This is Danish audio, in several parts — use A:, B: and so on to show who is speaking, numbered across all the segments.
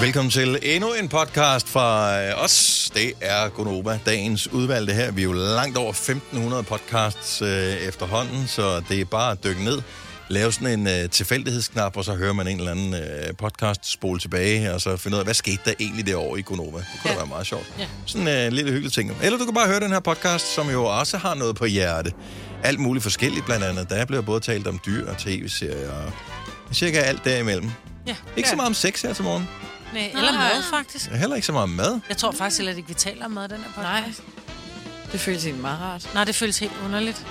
A: Velkommen til endnu en podcast fra øh, os. Det er Gonova, dagens udvalgte her. Vi er jo langt over 1500 podcasts øh, efterhånden, så det er bare at dykke ned, lave sådan en øh, tilfældighedsknap, og så hører man en eller anden øh, podcast spole tilbage, og så finde ud af, hvad skete der egentlig derovre i Gonova. Det kunne ja. være meget sjovt. Ja. Sådan en øh, lille hyggelig ting. Eller du kan bare høre den her podcast, som jo også har noget på hjerte. Alt muligt forskelligt, blandt andet. Der bliver både talt om dyr og tv-serier og cirka alt derimellem.
B: Ja.
A: Ikke så meget om sex her til morgen.
B: Nej, eller mad, faktisk.
A: Heller ikke så meget om mad.
B: Jeg tror faktisk heller ikke, vi taler om mad, den her podcast. Nej.
C: Det føles egentlig meget rart.
B: Nej, det føles helt underligt.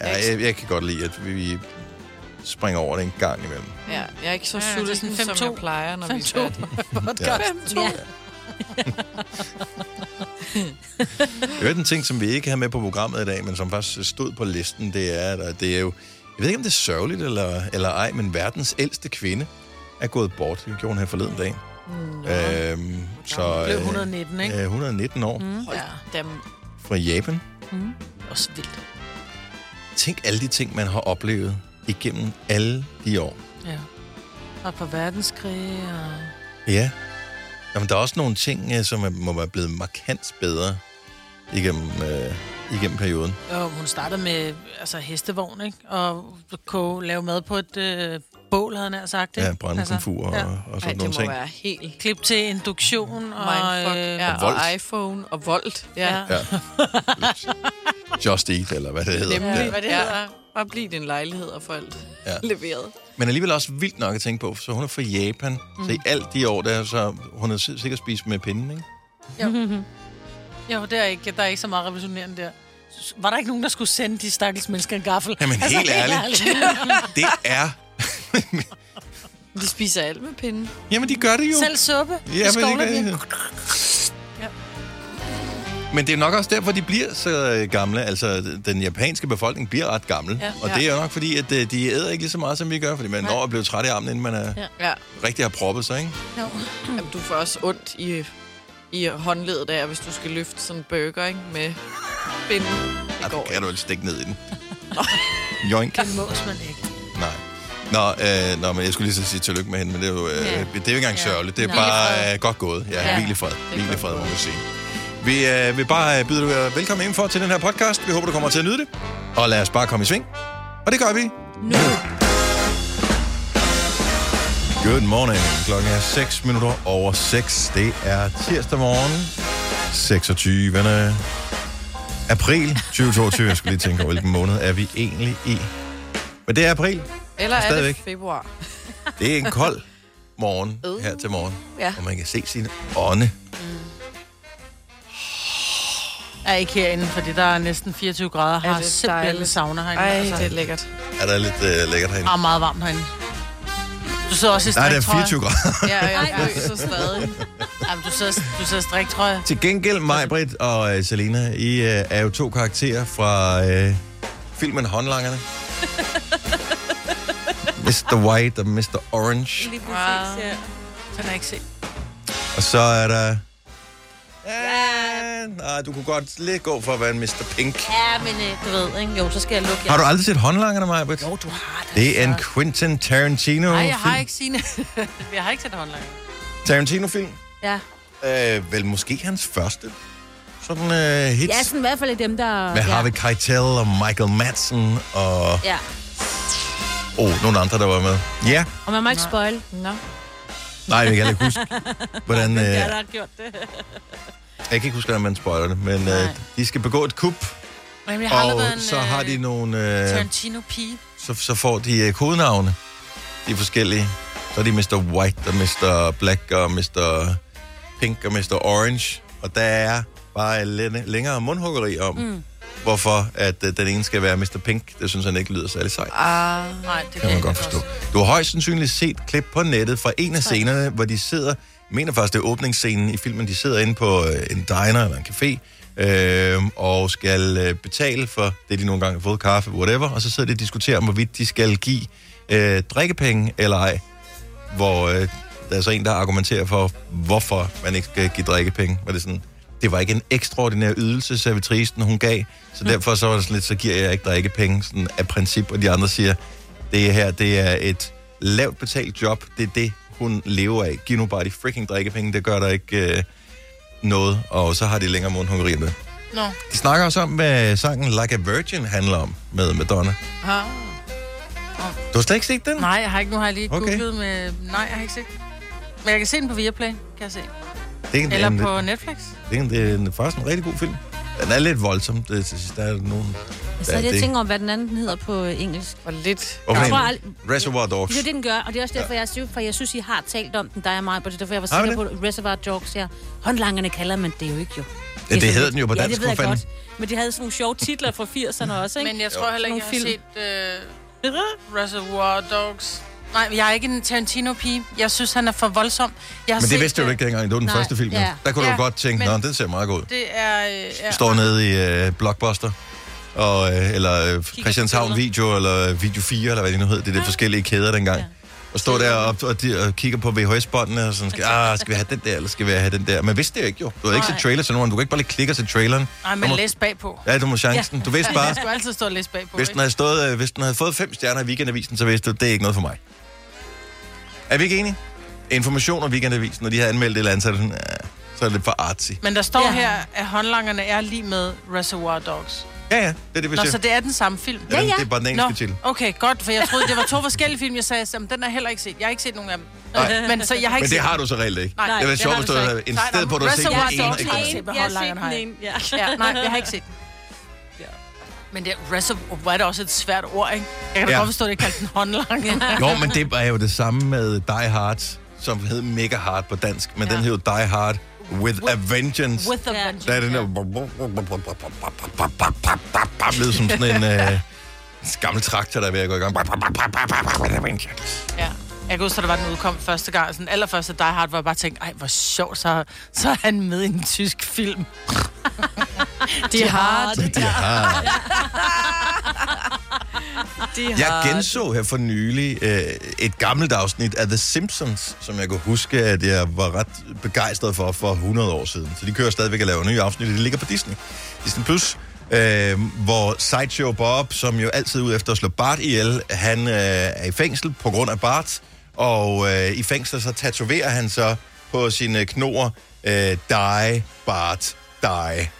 A: Ja, jeg, jeg kan godt lide, at vi, vi springer over det en gang imellem.
C: Ja, jeg er ikke så
B: Ja, ja, det er
C: sulten,
B: sådan
C: som
B: 5-2.
C: jeg plejer, når vi er
B: 5-2.
C: færdige.
A: Ja.
B: Ja.
A: Jeg hørte en ting, som vi ikke havde med på programmet i dag, men som faktisk stod på listen, det er, at det er jo... Jeg ved ikke, om det er sørgeligt eller, eller ej, men verdens ældste kvinde er gået bort. Det gjorde hun her forleden dag. Øhm, så,
B: Blev
A: øh,
B: 119, ikke?
A: øh, 119 år mm.
C: Ja. Dem,
A: fra Japan.
C: også vildt.
A: Tænk alle de ting, man har oplevet igennem alle de år.
B: Ja. Og på verdenskrig, og...
A: Ja. Jamen, der er også nogle ting, øh, som er, må være blevet markant bedre igennem, øh, igennem perioden.
B: Jo, hun startede med altså, hestevogn, ikke? Og kunne lave mad på et øh, bål, havde han nær sagt. Ikke?
A: Ja, brændekomfur altså, og, og
C: Ej,
A: sådan
C: det
A: nogle
C: må
A: ting.
C: være helt
B: Klip til induktion og...
C: mindfuck.
B: Øh,
C: ja,
A: Og
C: og,
A: Volt.
C: iPhone og Volt. Ja.
B: ja.
C: ja.
A: Ja. Just Eat, eller hvad det hedder.
C: Nemlig,
A: Ja.
C: hvad det hedder. Bare blive i din lejlighed og få alt
A: Ja.
C: ja. leveret.
A: Men alligevel også vildt nok at tænke på, så hun er fra Japan. Mm. Så i alt de år, der, så hun har si- sikkert spist med pinden, ikke?
B: Jo, det er ikke, der er ikke så meget revolutionerende der. S- Var der ikke nogen, der skulle sende de stakkels mennesker en gaffel? Altså,
A: Jamen, helt ærligt. Det er...
C: De spiser alt med pinden.
A: Jamen, de gør det jo.
B: Selv suppe.
A: Jamen,
B: Ja, men
A: ikke-
B: ikke...
A: Men det er nok også derfor, de bliver så øh, gamle. Altså, den japanske befolkning bliver ret gammel. Ja.
B: Ja.
A: Og det er jo nok fordi, at øh, de æder ikke lige så meget, som vi gør. Fordi man når at blive træt i armen, inden man er, ja.
B: Ja.
C: Ja.
A: rigtig har proppet sig, ikke?
C: Jamen, du får også ondt i, i håndledet der, hvis du skal løfte sådan en burger, ikke? Med pinden.
A: Ej,
C: Det
A: du
C: går
A: kan du ikke stikke ned i den. Joink.
B: Det mås man ikke.
A: Nej. Nå, øh, nå, men jeg skulle lige så sige tillykke med hende, men det er jo, øh,
B: Ja.
A: det er jo ikke engang
B: Ja.
A: sørgeligt. Det er
B: Nej.
A: bare øh, godt gået. Ja, ja.
C: Ja.
A: hvil i fred.
C: er
A: Hvil i
C: godt
A: fred, må
C: gået.
A: man sige. Vi øh, vil bare øh, byde dig velkommen indenfor til den her podcast. Vi håber, du kommer til at nyde det. Og lad os bare komme i sving. Og det gør vi.
C: Nu.
A: Good morning. Klokken er 6 minutter over 6. Det er tirsdag morgen, 26. april 2022. Jeg skulle lige tænke over, hvilken måned er vi egentlig i. Men det er april.
C: Eller er det
A: Stadigvæk.
C: februar?
A: Det er en kold morgen her til morgen.
C: Uh. Ja.
A: Og man kan se sin ånde.
B: Er ikke herinde, fordi der er næsten 24 grader. Har
C: det
B: simpelthen
C: dejligt.
B: sauna herinde.
C: Ej,
B: altså.
C: det er lækkert.
A: Er der lidt øh, lækkert herinde?
B: Og meget varmt herinde. Du sidder også i
A: Nej, det er
B: striktrøje.
A: 24 grader.
C: Ja, og jeg fryser stadig.
B: Jamen, du sidder, du sidder i striktrøje.
A: til gengæld, mig, Britt og øh, Selena, I øh, er jo to karakterer fra øh, filmen Håndlangerne. Mr. White og Mr. Orange.
D: Lige
C: præcis,
D: ja.
B: Den har jeg ikke set.
A: Og så er der... Ja, nej, du kunne godt lidt gå for at være en Mr. Pink.
D: Ja, men øh, du ved, ikke? Jo, så skal jeg lukke jer.
A: Har du aldrig set Håndlangerne, mig, Britt?
B: du har
A: Det er en Quentin Tarantino-film.
B: Nej, jeg har ikke sine. jeg har ikke set håndlang.
A: Tarantino-film.
D: Ja.
A: Øh, vel måske hans første sådan øh, hits
D: ja, sådan i hvert fald er dem, der...
A: med
D: ja.
A: Harvey Keitel og Michael Madsen og
D: Ja,
A: oh, nogle andre, der var med. Ja,
D: og man må ikke spoil.
C: Nå.
A: nej, jeg kan heller ikke huske, hvordan... Øh,
D: Ja,
A: jeg
D: der har gjort det.
A: kan ikke huske, hvordan man spoiler det, men øh,
B: Nej.
A: de skal begå et kup,
B: Jamen, jeg har aldrig
A: og
B: været en,
A: så har de
B: øh,
A: nogle... Øh,
B: Tarantino-pige.
A: så, så får de øh, kodenavne, de forskellige. Så er de Mr. White og Mr. Black og Mr. Pink og Mr. Orange, og der er bare lidt længere mundhuggeri om, mm. hvorfor at øh, den ene skal være Mr. Pink. Det synes han ikke lyder særlig sejt.
C: Ah,
B: Nej, det
A: kan man
B: jeg
A: godt forstå. Du har højst sandsynligt set klip på nettet fra en af scenerne, hvor de sidder, jeg mener faktisk det er åbningsscenen i filmen, de sidder inde på øh, en diner eller en café, øh, og skal øh, betale for det, de nogle gange har fået kaffe, whatever, og så sidder de og diskuterer om, hvorvidt de skal give øh, drikkepenge eller ej, hvor øh, der er så en, der argumenterer for, hvorfor man ikke skal give drikkepenge. Var det sådan, det var ikke en ekstraordinær ydelse, servitrisen hun gav, så derfor så var det sådan lidt, så giver jeg ikke drikkepenge sådan af princip, og de andre siger, det her, det er et lavt betalt job, det er det, kunne leve af. Giv nu bare de freaking drikkepenge, det gør der ikke øh, noget. Og så har de længere mundhuggeri med.
B: Nå.
A: De snakker også om, hvad sangen Like a Virgin handler om med Madonna.
B: Ja.
A: Du har slet ikke set den?
B: Nej, jeg har ikke. Nu har jeg lige
A: Okay.
B: okay. googlet med... Nej, jeg har ikke set den. Men jeg kan se den på Viaplay, kan jeg se.
A: Det er en,
B: Eller
A: en,
B: på Netflix.
A: Det er, en, det er en, faktisk en rigtig god film. Den er lidt voldsom. Det, det- der er nogen...
D: Så
A: der
D: er
A: er
D: det, jeg
A: det.
D: tænker om, hvad den anden den hedder på øh, engelsk.
C: Og lidt...
A: Hvorfor
D: Jeg tror
A: en-
D: ald-
A: Reservoir Dogs.
D: Det er jo det, den gør, og det er også derfor, jeg, synes, for jeg synes, I har talt om den, dig og mig, og det er derfor, jeg var
A: Har vi
D: sikker på at Reservoir Dogs her. Håndlangerne kalder man det jo ikke, jo.
A: Ja, det
D: sådan
A: hedder
D: lidt-
A: den jo på
D: ja,
A: dansk,
D: det ved jeg
A: for fanden.
D: godt. Men de havde sådan nogle sjove titler fra 80'erne
A: Mm.
D: også, ikke?
B: Men jeg tror heller ikke, jeg har
D: Nogle
B: set øh, Reservoir Dogs. Nej, jeg er ikke en Tarantino-pige. Jeg synes, han er for voldsom. Jeg har
A: Men det
B: set,
A: vidste
B: øh,
A: du jo ikke dengang, det var den
D: Nej,
A: første film. jo.
D: ja.
A: Der kunne
B: Ja,
A: du godt tænke,
B: men-
A: nå, den ser meget god ud.
B: Det er... Øh, ja.
A: Står nede i øh, Blockbuster, og, øh, eller øh, Christianshavn
D: billeder.
A: Video, eller Video 4, eller hvad det nu hed, det er de forskellige kæder dengang. Og står der og, og, de, og kigger på VHS-båndene, og sådan, skal, ah, skal vi have den der, eller skal vi have den der? Men vidste det jo ikke, jo. Du har ikke set
B: Nej.
A: trailer til nogen, du kan ikke bare lige klikke og se traileren.
B: Nej,
A: Du
B: men
A: må-
B: læs bagpå.
A: Ja, du må chancen. Du vidste bare,
B: Jeg skulle altid stå og læse bagpå.
A: Hvis den,
B: Ikke?
A: havde stået, øh, hvis den havde fået fem stjerner i weekendavisen, så vidste du, det er ikke noget for mig. Er vi ikke enige? Information om weekendavisen, når de har anmeldt et eller andet, så er det, sådan, "Ah," så er det lidt for artsy.
B: Men der står
D: Ja.
B: ja. her, at håndlangerne er lige med Reservoir Dogs.
A: Ja, ja, det er det, vi
B: Nå, så
A: siger.
B: det er den samme film?
A: Ja, den- ja. det er bare den engelske titel.
B: okay, godt, for jeg troede, det var to forskellige film, jeg sagde, jamen, den har jeg heller ikke set. Jeg har ikke set nogen af dem.
A: Nej.
B: Men så jeg har ikke
A: Men det
B: set
A: har du så reelt ikke.
B: Nej,
A: det var
B: det
A: sjovt,
B: har
A: hvis
B: du
A: du
B: så
A: havde
B: ikke.
A: en
B: Nej,
A: sted
B: nej,
A: på, du har set
B: Reservoir
A: en.
B: Dogs
A: af
B: er
A: gangen.
B: set den
D: Jeg har set
B: Hollanderen
D: den
B: har jeg.
D: ene, ja.
B: Ja, nej, jeg har ikke set den. Men det er reservoir, hvor er det også et svært ord, ikke? Jeg kan da
A: Ja.
B: godt forstå, at det kalder den håndlanger.
A: Nå, men det er jo det samme med Die Hard, som hed Mega Hard på dansk, men
B: Ja.
A: den hed jo Die Hard With a Vengeance.
B: With a
D: Ja.
B: vengeance.
A: Der er den der... Lyd som sådan en... Øh, gammel traktor, der er ved at gå i gang.
B: Ja. Jeg kan huske, at der var den udkom første gang. Sådan allerførste Die Hard, hvor jeg bare tænkte, ej, hvor sjovt, så, så er han med i en tysk film.
C: De har...
A: De har.
C: De
A: Jeg
C: har...
A: genså her for nylig øh, et gammelt afsnit af The Simpsons, som jeg kunne huske, at jeg var ret begejstret for for 100 år siden. Så de kører stadigvæk og laver nye afsnit, og det ligger på Disney. Disney Plus. Øh, hvor Sideshow Bob, som jo altid er ude efter at slå Bart ihjel, han øh, er i fængsel på grund af Bart, og øh, i fængsel så tatoverer han så på sine knoer, øh, die Bart, die.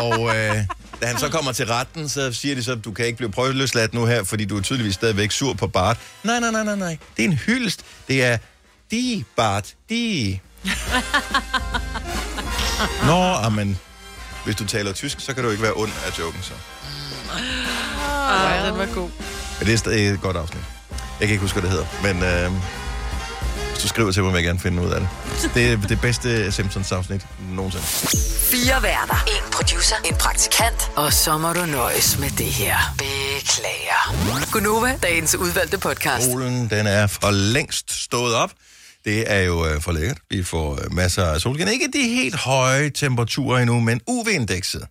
A: Og øh, da han så kommer til retten, så siger de så, du kan ikke blive prøveløsladt nu her, fordi du er tydeligvis stadigvæk sur på Bart. Nej, nej, nej, nej, nej. Det er en hyldest. Det er de, Bart, de. Nå, amen. Hvis du taler tysk, så kan du ikke være ond af joken, så.
B: Ah,
C: Ej, den var god.
A: Men det er stadig et godt afsnit. Jeg kan ikke huske, hvad det hedder, men øh, hvis du skriver til mig, vil jeg gerne finde ud af det. Det er det bedste Simpsons-afsnit nogensinde.
E: Fire værter. En producer. En praktikant. Og så må du nøjes med det her. Beklager. Gunova, dagens udvalgte podcast.
A: Solen, den er for længst stået op. Det er jo øh, for lækkert. Vi får øh, masser af solskin. Ikke de helt høje temperaturer endnu, men UV-indekset.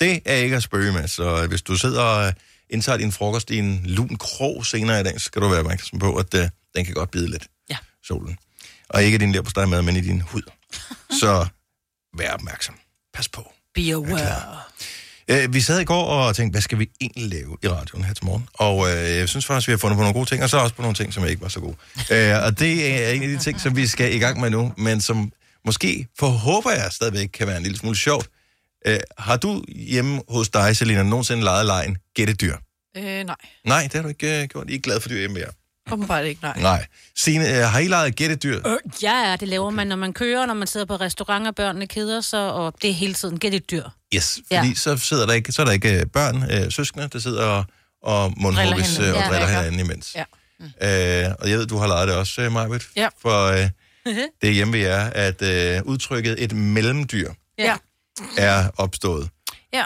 A: Det er ikke at spøge med. Så øh, hvis du sidder og øh, indtager din frokost i en lun krog senere i dag, så skal du være opmærksom på, at øh, den kan godt bide lidt.
B: Ja.
A: Solen. Og ikke i din læber med, men i din hud. Så vær opmærksom. Pas på.
B: Be aware.
A: Øh, vi sad i går og tænkte, hvad skal vi egentlig lave i radioen her til morgen? Og øh, jeg synes faktisk, vi har fundet på nogle gode ting, og så også på nogle ting, som ikke var så gode. øh, og det er en af de ting, som vi skal i gang med nu, men som måske, forhåber jeg stadigvæk, kan være en lille smule sjovt. Øh, har du hjemme hos dig, Selina, nogensinde leget lejen Gæt et dyr?
C: Øh, nej.
A: Nej, det har du ikke øh, gjort. I er ikke glad for dyr hjemme mere.
C: Åbenbart ikke, nej.
A: Nej. Signe, øh, har I leget Gæt et dyr?
D: Øh, Ja, ja, det laver okay. man, når man kører, når man sidder på restaurant, og børnene keder sig, og det er hele tiden gæt et dyr.
A: Yes, fordi ja.
D: Ja.
A: så, sidder der ikke, så er der ikke øh, børn, øh, søskende, der sidder og, og mundhugges øh,
B: hinanden.
A: og
D: Ja,
A: driller
D: lækker.
A: hinanden imens.
C: Ja.
A: Øh, og jeg ved, du har lejet det også, øh, Majbet.
B: Ja.
A: For øh, det er hjemme ved jer, at øh, udtrykket et mellemdyr
B: Ja.
A: er opstået.
B: Ja.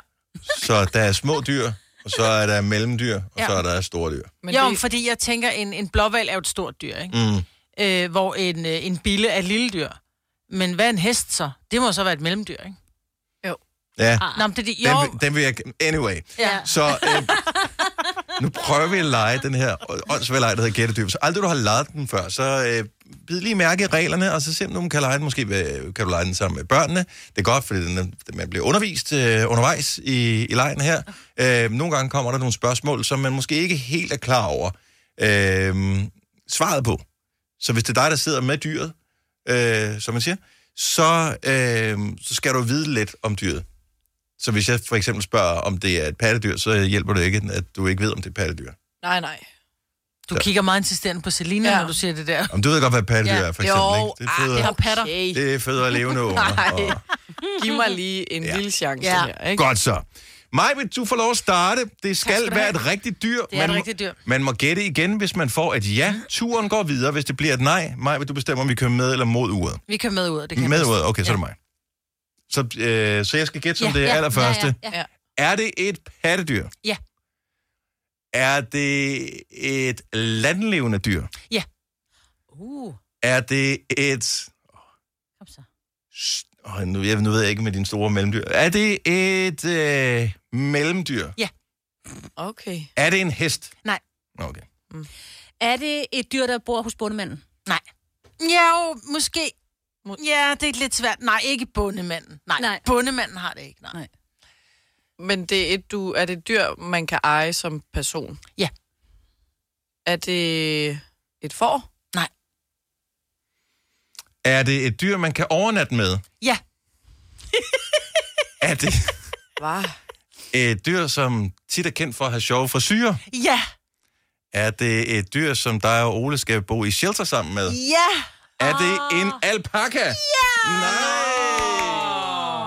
A: Så der er små dyr, og så er der mellemdyr, og
B: Ja.
A: så er der store dyr.
C: Men
B: jo,
C: det,
B: fordi jeg tænker, en, en blåval er jo et stort dyr, ikke?
A: Mm.
B: Øh, hvor en, øh, en bille er et lille dyr. Men hvad er en hest så? Det må så være et mellemdyr, ikke?
A: Ja,
D: Ah.
B: Nå, men det er de, jo,
A: den, vil- den vil jeg... Anyway.
B: ja.
A: Så øh, nu prøver vi at lege den her øh, åndssvage leg, der hedder gættedyr. Hvis aldrig du har leget den før, så øh, bid lige mærke i reglerne, og så se om du kan lege den. Måske øh, kan du lege den sammen med børnene. Det er godt, fordi den, er- man bliver undervist øh, undervejs i, i lejen her. Øh, nogle gange kommer der nogle spørgsmål, som man måske ikke helt er klar over øh, svaret på. Så hvis det er dig, der sidder med dyret, øh, som man siger, så, øh, så skal du vide lidt om dyret. Så hvis jeg for eksempel spørger, om det er et pattedyr, så hjælper det ikke, at du ikke ved, om det er et pattedyr.
B: Nej, nej. Du kigger meget insisterende på Selina, ja. når du siger det der.
A: Om du ved godt, hvad et pattedyr
B: Ja.
A: er, for eksempel.
B: Jo,
A: ikke? Det
B: ah, det
A: føder,
B: har patter.
C: Okay.
A: det føder levende unger.
C: Nej.
A: Og...
C: Giv mig lige en ja. lille chance
B: Ja.
C: ja. her, ikke?
A: Godt så. Majbrit, du får lov at starte. Det skal,
B: skal du
A: være
B: have.
A: et rigtigt dyr.
B: Det er et
A: må-
B: rigtigt dyr.
A: Man må gætte igen, hvis man får et ja. Turen går videre, hvis det bliver et nej. Majbrit, du bestemmer, om vi kører med eller mod uret.
B: Vi kan med ud af det. Kan
A: Med
B: jeg
A: uret, okay, så
B: Ja.
A: er det mig. Så, øh, så jeg skal gætte som det allerførste.
D: Ja, ja, ja.
A: Er det et pattedyr?
D: Ja.
A: Er det et landlevende dyr?
D: Uh,
A: Er det et...
D: kom så.
A: Oh, nu, jeg, nu ved jeg ikke med dine store mellemdyr. Er det et øh, mellemdyr?
C: Okay.
A: Er det en hest?
D: Nej.
A: Okay.
D: Er det et dyr, der bor hos bondemanden?
B: Nej. Ja, jo, måske. Ja, det er lidt svært. Nej, ikke bondemanden.
D: Nej.
B: Nej, nej. bondemanden har det ikke. Nej.
D: Nej.
C: Men det er, et, du, er det et dyr, man kan eje som person?
B: Ja.
C: Er det et får?
B: nej.
A: Er det et dyr, man kan overnatte med?
B: Ja,
A: Er det
C: Hva?
A: et dyr, som tit er kendt for at have sjove frisyrer?
B: ja,
A: Er det et dyr, som dig og Ole skal bo i shelter sammen med?
B: ja.
A: Er det en alpaka? Ja! Nej!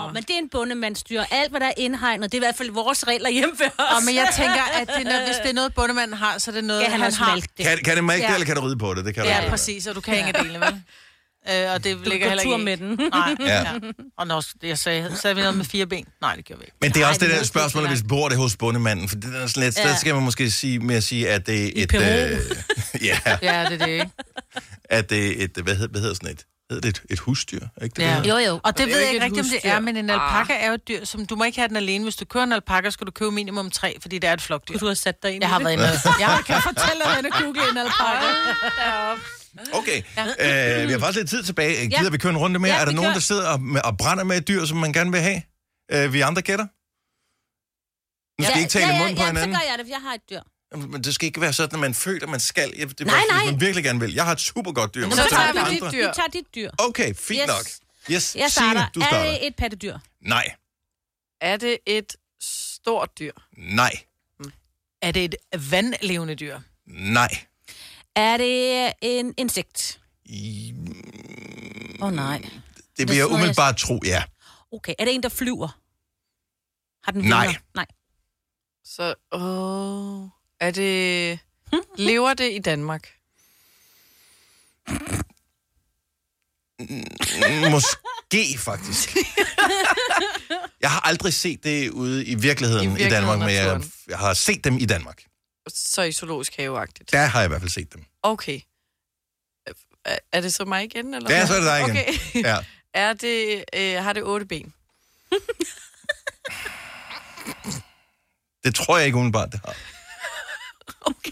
D: Oh, men det er en bondemandsdyr. Alt, hvad der er indhegnet, det er i hvert fald vores regler hjemme ved os.
B: Og men jeg tænker, at det er noget, hvis det er noget, bondemanden har, så er det noget,
D: ja, han,
B: han har.
D: Mælk det.
A: Kan, kan det mælke det,
B: Ja.
A: eller kan du ride på det? Det kan du
B: Ja,
A: ikke.
B: præcis, og du kan ikke dele, vel? Øh, og det du ligger
D: går
B: heller
D: tur
B: ikke i.
D: med den.
B: Nej,
A: Ja.
B: ja. ja. Og når jeg sagde, sagde vi noget med fire ben. Nej, det gjorde vi ikke.
A: Men det er
D: Ej,
A: også det
D: det
A: der
D: er
A: spørgsmål,
D: ikke
A: hvis bor det hos bondemanden, for det er sådan lidt, ja.
D: Ja.
A: der skal man måske sige, med at sige, at det er et... øh,
D: Peru.
A: ja,
B: Ja, det er det, ikke?
A: at det er et, hvad hedder, hvad hedder sådan et? Hedder det et, et husdyr? Er Ikke det,
B: Ja.
A: det hedder?
D: Jo, jo.
B: Og det,
C: er
B: ved
C: jo
B: jeg
C: ikke
B: ikke
C: et
B: rigtigt, om det
C: husdyr.
B: er, men en alpaka er jo et dyr, som du må ikke have den alene. Hvis du kører en alpaka, skal du købe minimum tre, fordi det er et flokdyr.
D: Du har sat dig ind
B: Jeg
D: i
B: har
D: det.
B: været inde. Jeg kan fortælle dig, at du googler en alpaka.
A: Okay, ja. øh, vi har faktisk lidt tid tilbage. Gider ja. vi køre en runde mere?
D: Ja,
A: er der
D: vi
A: nogen,
D: kører.
A: der sidder og, med, og brænder med et dyr, som man gerne vil have? Øh, vi andre gætter? Nu skal ja. ikke tale
D: ja,
A: i
D: ja,
A: munden på
D: ja,
A: hinanden.
D: så gør jeg det, for jeg har et dyr.
A: Jamen, Men det skal ikke være sådan, at man føler, man skal. Jeg, det er
D: Nej,
A: bare,
D: nej.
A: Hvis man virkelig gerne vil. Jeg har et super godt dyr. men
C: så
A: det er
C: tager
A: ikke
C: vi
A: andre.
C: dit dyr.
D: Vi tager dit dyr.
A: Okay, fint yes.
D: Yes.
A: nok. Yes,
D: Jeg starter.
A: Signe, du starter.
D: Er det et pattedyr?
A: Nej,
C: Er det et stort dyr?
A: nej,
B: Er det et vandlevende dyr?
A: nej.
D: Er det en insekt?
A: I-
D: Åh oh, nej.
A: Det vil jeg
D: tror jeg-
A: umiddelbart tro, ja.
D: Okay, er det en, der flyver? Har den
A: Nej.
D: vinger? Nej.
C: Så, åh, er det... Lever det i Danmark?
A: Måske faktisk. Jeg har aldrig set det ude i virkeligheden i,
C: I
A: virkeligheden, i Danmark, men jeg,
C: virkeligheden,
A: jeg har set dem i Danmark.
C: Så i zoologisk haveagtigt.
A: Der har jeg i hvert fald set dem.
C: Okay. Er, er det så mig igen? Eller
A: Ja,
C: hvad?
A: så er det dig igen.
C: Okay.
A: Ja.
C: Er det, øh, har det otte ben?
A: Det tror jeg ikke umiddelbart, det har.
C: Okay.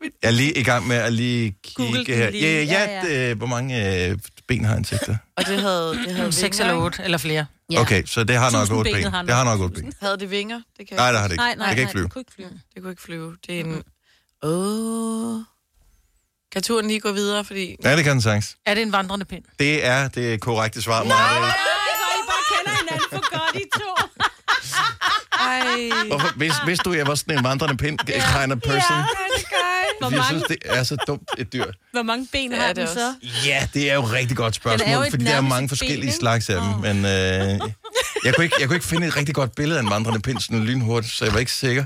A: Jeg er lige i gang med at lige kigge
D: Google den
A: her.
D: lige.
A: Ja, ja, ja,
D: Ja,
A: ja. Det, hvor mange øh, ben har insekter?
C: Og det havde, det havde
B: Seks
C: vinger,
B: eller
C: ikke?
B: otte, eller flere.
A: Ja. Okay, så det har nok otte
D: Tusindbenet
A: ben.
D: har den.
A: Det har nok otte ben.
C: Havde det vinger? Det kan
A: Nej,
C: ikke-
A: det har det ikke.
D: Nej, nej,
A: det kan ikke
D: nej,
A: flyve.
D: kunne ikke flyve.
C: Det kunne ikke flyve. Det er en... Åh. Kan turen lige gå videre, fordi...
A: Ja, det kan den sagtens.
B: Er det en vandrende pind?
A: Det er det korrekte svar, Maja.
D: Nej, hvor I bare kender hinanden for godt, I to.
C: Ej,
A: Hvorfor, hvis, hvis du jeg var sådan en vandrende pind kind of person, ja.
D: Hvor
A: jeg
D: mange,
A: synes, det er så dumt et dyr.
D: hvor mange ben
C: Det
D: har
C: er det
D: den så?
C: også.
A: Ja, det er jo et rigtig godt spørgsmål,
D: Den er jo et
A: fordi der er mange
D: nærmest ben,
A: forskellige
D: ikke?
A: slags af dem. Men øh, jeg, kunne ikke, jeg kunne ikke finde et rigtig godt billede af en vandrende pind sådan lynhurtigt, så jeg var ikke sikker.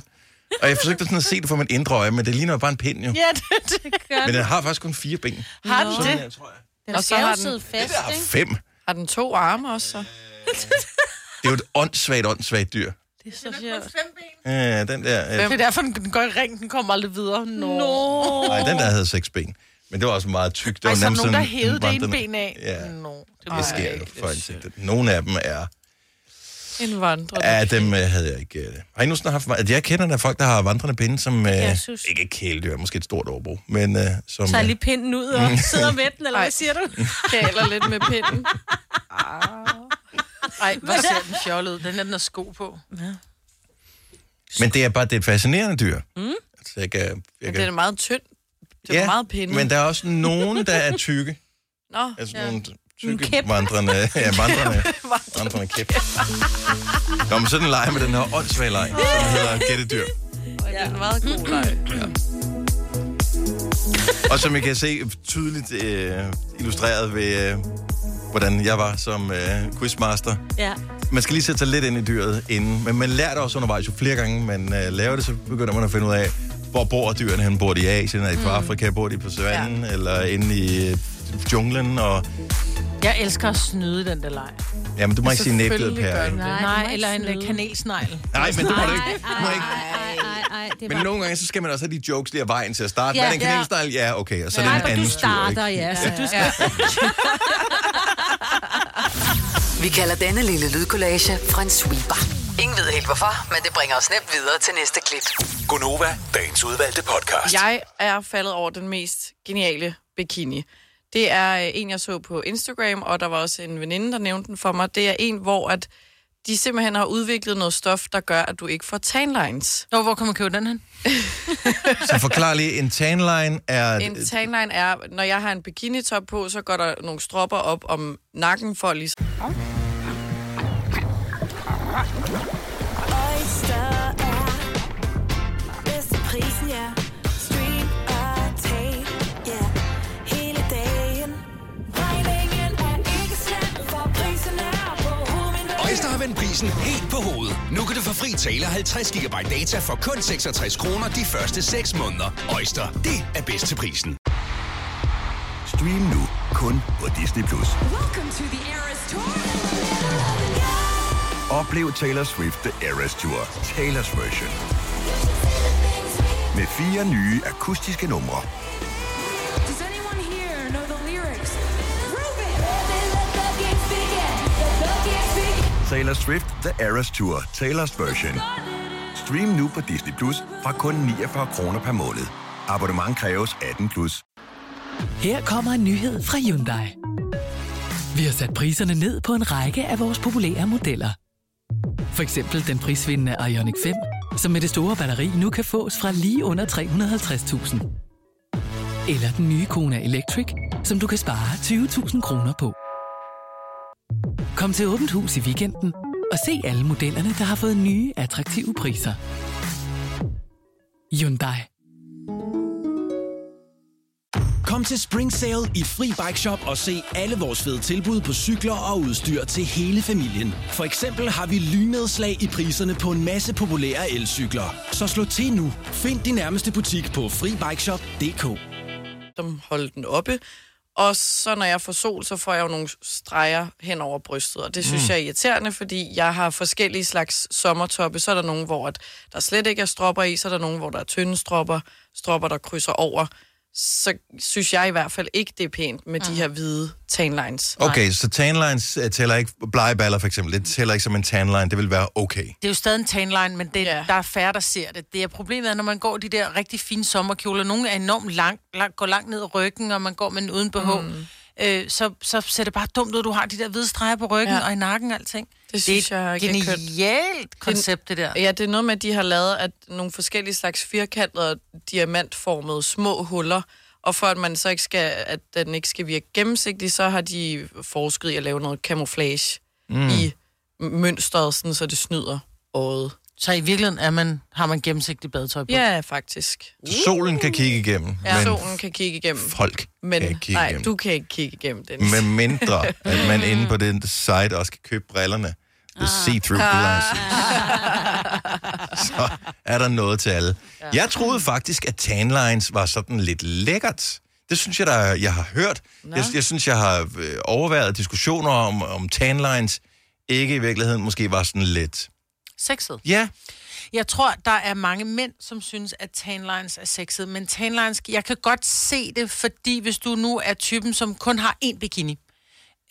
A: Og jeg forsøgte sådan at se det for mit indre øje, men det ligner jo bare en pind jo.
B: Ja, det, det gør
A: Men den har faktisk kun fire ben.
B: Har den det?
A: jeg, tror jeg.
D: Den
C: Og så
D: skal
C: har
D: jo
C: den-
D: sidde fast,
A: Der er
D: ikke?
A: fem.
C: har den to arme også, så?
A: Det er jo et åndssvagt, åndssvagt dyr.
D: Det er så sjovt.
A: Ja, den der... Øh,
B: Det er derfor, den, den går i ring. Den kommer aldrig videre. Nå.
D: Nå.
A: nej, den der havde seks ben. Men det var også meget tyk. Det var
B: Ej, så er der
A: nærmest
B: nogen, der
A: sådan en
B: hævede det ene
A: vandrende-
B: ben af.
A: Ja.
B: Nå. Det
A: Det
B: var
A: sker jo for insekter. Nogle af dem er...
C: En vandrende.
A: Ja, dem øh, havde jeg ikke... øh. Har I nu sådan haft... At jeg kender der folk, der har vandrende pinde, som... Øh,
D: Jeg synes-
A: ikke er kæledyr, måske et stort overbrug, men øh, som...
D: Tager
A: Øh,
D: lige pinden ud og sidder med den, eller hvad
C: Ej.
D: siger du? Ah.
C: Kæler lidt med pinden.
B: Ej, hvor ser den fjollet ud. Den er den der sko på.
C: Hmm?
A: men det er bare det er et fascinerende dyr. Mm. Altså, jeg kan, jeg
C: Men den er
A: kan,
C: meget tynd. Det var meget pinde.
A: men der er også nogen, der er tykke.
C: Nå,
A: Altså
C: ja.
A: ja. nogle
D: En
A: tykke
D: kæp.
A: vandrende, ja, vandrende, vandrende kæp. Nå, men sådan leger med den her åndssvage leg, som hedder gættedyr.
C: det er en meget god leg.
A: Og som I kan se tydeligt øh, illustreret ved, øh, hvordan jeg var som øh, quizmaster.
D: Ja.
A: Man skal lige sætte sig lidt ind i dyret inden, men man lærer det også undervejs. Jo flere gange man øh, laver det, så begynder man at finde ud af, hvor bor dyrene hen? Bor de i Asien, er de fra Afrika, bor de på savannen, ja. eller inde i øh, junglen? Og,
B: Jeg elsker at snyde i den der leg. Altså,
A: jamen, du må ikke sige
C: Selvfølgelig
A: næblet,
C: gør
A: Per.
C: den det.
D: Nej, du må
B: Nej,
D: ikke
B: eller en øh,
D: snyde.
B: kanelsnegl.
A: Nej, men det må du ikke. Du må
D: Ej,
A: ikke.
D: ej, ej, ej, det
A: Men
D: var...
A: nogle gange, så skal man også have de jokes lige af vejen til at starte.
D: Ja.
A: Ja, den
D: Ja.
A: kanelsnegl? Ja, okay. Og så ja, er
D: Nej,
A: det
D: for
A: en
D: du
A: anden tur,
D: starter,
A: ikke?
D: ja. Så du skal...
C: Ja.
E: Vi kalder denne lille lydkollage en sweeper. Ingen ved helt hvorfor, men det bringer os nemt videre til næste klip.
F: Gunova, dagens udvalgte podcast.
C: Jeg er faldet over den mest geniale bikini. Det er øh, en, jeg så på Instagram, og der var også en veninde, der nævnte den for mig. Det er en, hvor at de simpelthen har udviklet noget stof, der gør, at du ikke får tanlines.
B: Nå, hvor kan man købe den hen?
A: Så forklar lige, en tanline er...
C: En tanline er, når jeg har en bikinitop på, så går der nogle stropper op om nakken for ligesom- lige
G: Oyster er bedst til prisen, ja. Stream og tag, ja. Hele dagen. Regningen er ikke slem, for prisen er på hovedet.
F: Øjster har vendt prisen helt på hovedet. Nu kan du få fri tale 50 GB data for kun 66 kroner de første 6 måneder. Øjster, det er bedst til prisen.
H: Stream nu kun på Disney+. Plus. Oplev Taylor Swift The Eras Tour, Taylor's version. Med fire nye akustiske numre. Taylor Swift The Eras Tour, Taylor's version. Stream nu på Disney Plus fra kun 49 kroner per måned. Abonnement kræves 18 plus.
I: Her kommer en nyhed fra Hyundai. Vi har sat priserne ned på en række af vores populære modeller. For eksempel den prisvindende Ioniq 5, som med det store batteri nu kan fås fra lige under 350.000. Eller den nye Kona Electric, som du kan spare 20.000 kroner på. Kom til Åbent Hus i weekenden og se alle modellerne, der har fået nye, attraktive priser. Hyundai.
J: Kom til Spring Sale i Fri Bike Shop og se alle vores fede tilbud på cykler og udstyr til hele familien. For eksempel har vi lynedslag i priserne på en masse populære elcykler. Så slå til nu. Find din nærmeste butik på FriBikeShop.dk.
C: som holde den oppe. Og så når jeg får sol, så får jeg jo nogle streger hen over brystet, og det synes mm. jeg er irriterende, fordi jeg har forskellige slags sommertoppe. Så er der nogen, hvor at der slet ikke er stropper i, så er der nogen, hvor der er tynde stropper, stropper, der krydser over. Så synes jeg i hvert fald ikke, det er pænt med mm. de her hvide tanlines.
A: Okay, så tanlines øh, tæller ikke... Blege baller for eksempel, det tæller ikke som en tanline. Det vil være okay.
B: Det er jo stadig en tanline, men det,
C: Ja.
B: ja. der er færre, der ser det. Det er problemet, er, når man går de der rigtig fine sommerkjoler. Nogle er enormt langt, lang, går langt ned ad ryggen, og man går med den uden behov. Mm. Øh, så, så ser det bare dumt ud, du har de der hvide streger på ryggen
C: Ja.
B: ja. og i nakken og alting.
C: synes
B: det er
C: jeg
B: et
C: ikke er kønt.
B: genialt koncept, det der.
C: Ja, det er noget med, at de har lavet at nogle forskellige slags firkantede, diamantformede små huller, og for at man så ikke skal, at den ikke skal virke gennemsigtig, så har de forsket i at lave noget camouflage mm. i mønstret, sådan, så det snyder øjet.
B: Så i virkeligheden er man, har man gennemsigtigt badetøj på.
C: Ja, faktisk.
A: Så solen kan kigge igennem,
C: Uh. Ja.
A: men
C: Solen kan kigge igennem.
A: folk
C: Men
A: kan ikke kigge
C: nej,
A: igennem.
C: du kan ikke kigge igennem, Dennis.
A: Med mindre, at man inde på den site også kan købe brillerne. The
C: Ah.
A: see-through glasses. Så er der noget til alle. Jeg troede faktisk, at tanlines var sådan lidt lækkert. Det synes jeg, der, jeg har hørt. Jeg, jeg synes, jeg har øh, overvejet diskussioner om, om tanlines ikke i virkeligheden måske var sådan lidt...
B: Sexet.
A: Ja,
B: Jeg tror, der er mange mænd, som synes, at tanlines er sexet. Men tanlines, jeg kan godt se det, fordi hvis du nu er typen, som kun har én bikini,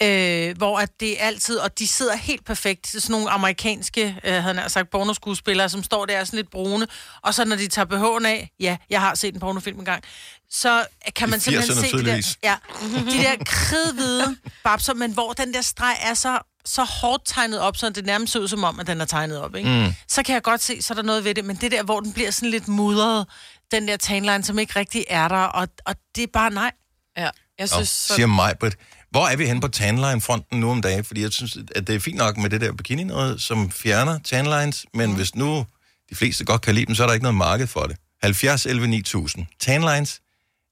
B: øh, hvor at det er altid, og de sidder helt perfekt, sådan nogle amerikanske, øh, havde jeg nær sagt, pornoskuespillere, som står der sådan lidt brune, og så når de tager BH'en af, ja, jeg har set en pornofilm engang, så kan man
A: 80'erne
B: simpelthen se de der,
A: tydeligvis.
B: ja, de der kridhvide babser, men hvor den der streg er så, så hårdt tegnet op, så det nærmest ser ud som om, at den er tegnet op, ikke? Mm. Så kan jeg godt se, så er der noget ved det, men det der, hvor den bliver sådan lidt mudret, den der tanline, som ikke rigtig er der, og, og det er bare nej.
C: Ja, jeg
A: Nå, siger mig, but, hvor er vi henne på tanline-fronten nu om dagen? Fordi jeg synes, at det er fint nok med det der bikini noget, som fjerner tanlines, men mm. hvis nu de fleste godt kan lide dem, så er der ikke noget marked for det. 70, 11, 9000. Tanlines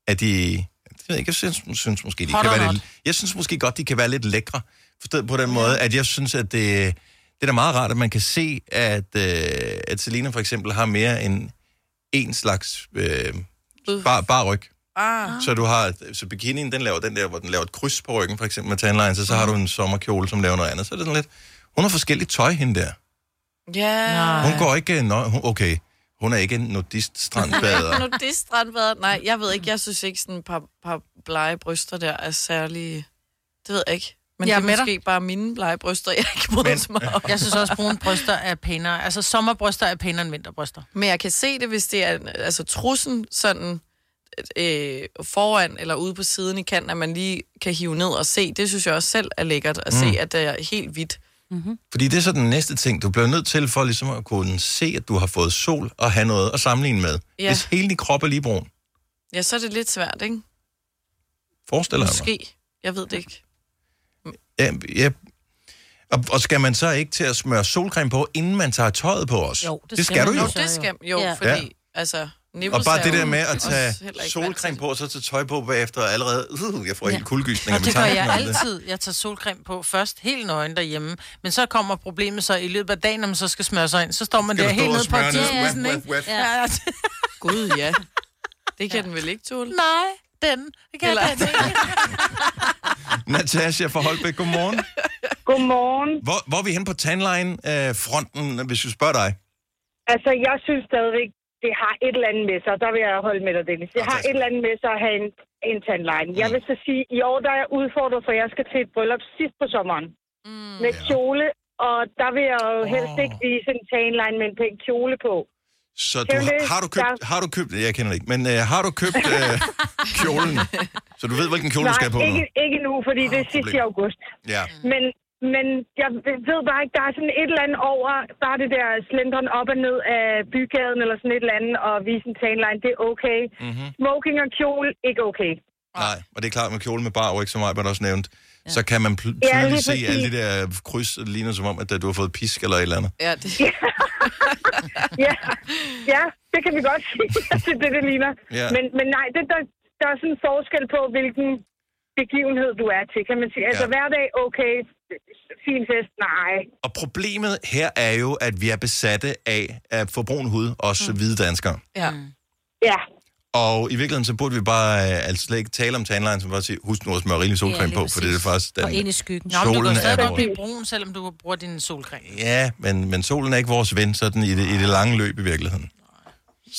A: er de... Jeg, ved ikke, jeg synes, synes måske, de
K: Hot
A: kan
K: or
A: være
K: not?
A: lidt, jeg synes måske godt, de kan være lidt lækre. Forstået på den måde, at jeg synes, at det, det er da meget rart, at man kan se, at, øh, at Selina for eksempel har mere end en slags øh, bar, bar ryg.
C: Ah.
A: Så du har, så bikinien, den laver den der, hvor den laver et kryds på ryggen, for eksempel med tanlines, og så har du en sommerkjole, som laver noget andet. Så er det sådan lidt, hun har forskelligt tøj, hende der.
C: Ja.
A: Hun går ikke, øh, nø- hun, okay, hun er ikke en nudist-strandbader.
C: nu det strandbader. Nej, jeg ved ikke. Jeg synes ikke, sådan et par, par blege bryster der er særlig... Det ved jeg ikke. Men
B: Jeg
C: jeg
B: er
C: det er
B: med dig.
C: måske bare mine blege bryster, jeg ikke bryder mig om.
B: Jeg synes også, brune bryster er pænere. Altså, sommerbryster er pænere end vinterbryster.
C: Men jeg kan se det, hvis det er altså, trussen sådan øh, foran eller ude på siden i kanten, at man lige kan hive ned og se. Det synes jeg også selv er lækkert at mm.
A: Mm.
C: se, at det er helt hvidt. Mm-hmm.
A: Fordi det er så den næste ting, du bliver nødt til for ligesom at kunne se, at du har fået sol og have noget at sammenligne med.
C: Ja.
A: Hvis hele din krop er lige brun,
C: Ja, så er det lidt svært, ikke?
A: forestil dig mig.
C: Måske. Jeg ved det ikke.
A: Ja, ja. Og, og skal man så ikke til at smøre solcreme på, inden man tager tøjet på os? det skal du jo.
C: Nå, det skal, jo,
A: Ja.
C: ja. fordi...
A: Ja.
C: Altså, nipples
A: Og bare
C: er
A: det
C: jo
A: der med at
C: også
A: tage
C: heller ikke
A: solcreme på, og så tage tøj på bagefter, og allerede, uh, jeg får helt
B: Og
A: kuldegysninger.
B: det gør jeg altid. Jeg tager solcreme på først, helt nøgen derhjemme. Men så kommer problemet så i løbet af dagen, når man så skal smøre sig ind. Så står man
A: Skal
B: der
A: du stå
B: helt
A: og
B: nede på
A: smøre ned?
B: tidsspidsen,
A: Waf,
B: ikke?
A: waf, waf.
B: Ja, ja.
C: Gud, ja. Det kan ja. den vel ikke tåle?
B: Nej, den. Det kan Eller...
C: Eller-
B: den ikke.
A: Natasha fra Holbæk, godmorgen.
L: Godmorgen.
A: Hvor, hvor er vi hen på tandline-fronten, hvis vi spørger dig?
L: Altså, jeg synes stadigvæk, det har et eller andet med sig, og der vil jeg holde med dig, Dennis. Det har et eller andet med sig at have en, en tandline. Jeg
A: Mm.
L: vil så sige, i år der er jeg udfordret, for jeg skal til et bryllup sidst på sommeren. Mm, med kjole, og der vil jeg jo helst ikke vise en tandline med en pæn kjole på.
A: Så
L: Det
A: du,
L: er jo det,
A: har, har du købt,
L: der-
A: har du købt, jeg kender det ikke, men øh, har du købt øh, kjolen? Så du ved, hvilken kjole du skal på
L: Nej,
A: nu?
L: ikke, ikke nu, fordi det er sidst i august.
A: Ja.
L: Men, men jeg ved bare ikke, der er sådan et eller andet over, bare det der slenderen op og ned af bygaden eller sådan et eller andet, og vise en tanline, det er okay.
A: Mhm.
L: Smoking og kjole, ikke okay.
A: Nej, og det er klart med kjole med bar, ikke som Ejbert også nævnt, så kan man pl-
L: Ja, lige
A: tydeligt se
L: præcis.
A: alle de der øh, kryds, det ligner som om, at øh, du har fået pisk eller et eller andet.
C: Ja, det...
L: ja. ja, det kan vi godt sige, at det er det, det ligner.
A: Ja.
L: Men, men nej, det, der, der er sådan en forskel på, hvilken begivenhed du er til, kan man sige. Altså
A: Ja.
L: hverdag, okay, fin fest, nej.
A: Og problemet her er jo, at vi er besatte af at få brun hud, også
B: Mm.
A: hvide danskere.
C: Ja.
L: Ja.
A: Og i virkeligheden, så burde vi bare øh, altså slet ikke tale om tandline, som bare sige, husk nu at smøre rigelig solcreme
B: lige
A: på, for det er
B: præcis.
A: faktisk den...
B: Og ind i skyggen. Nå, men du
A: Solen
B: kan
A: er
B: stadig godt
A: vores.
B: blive brun, selvom du bruger din solcreme.
A: Ja, men, men solen er ikke vores ven, sådan i det, i det lange løb i virkeligheden.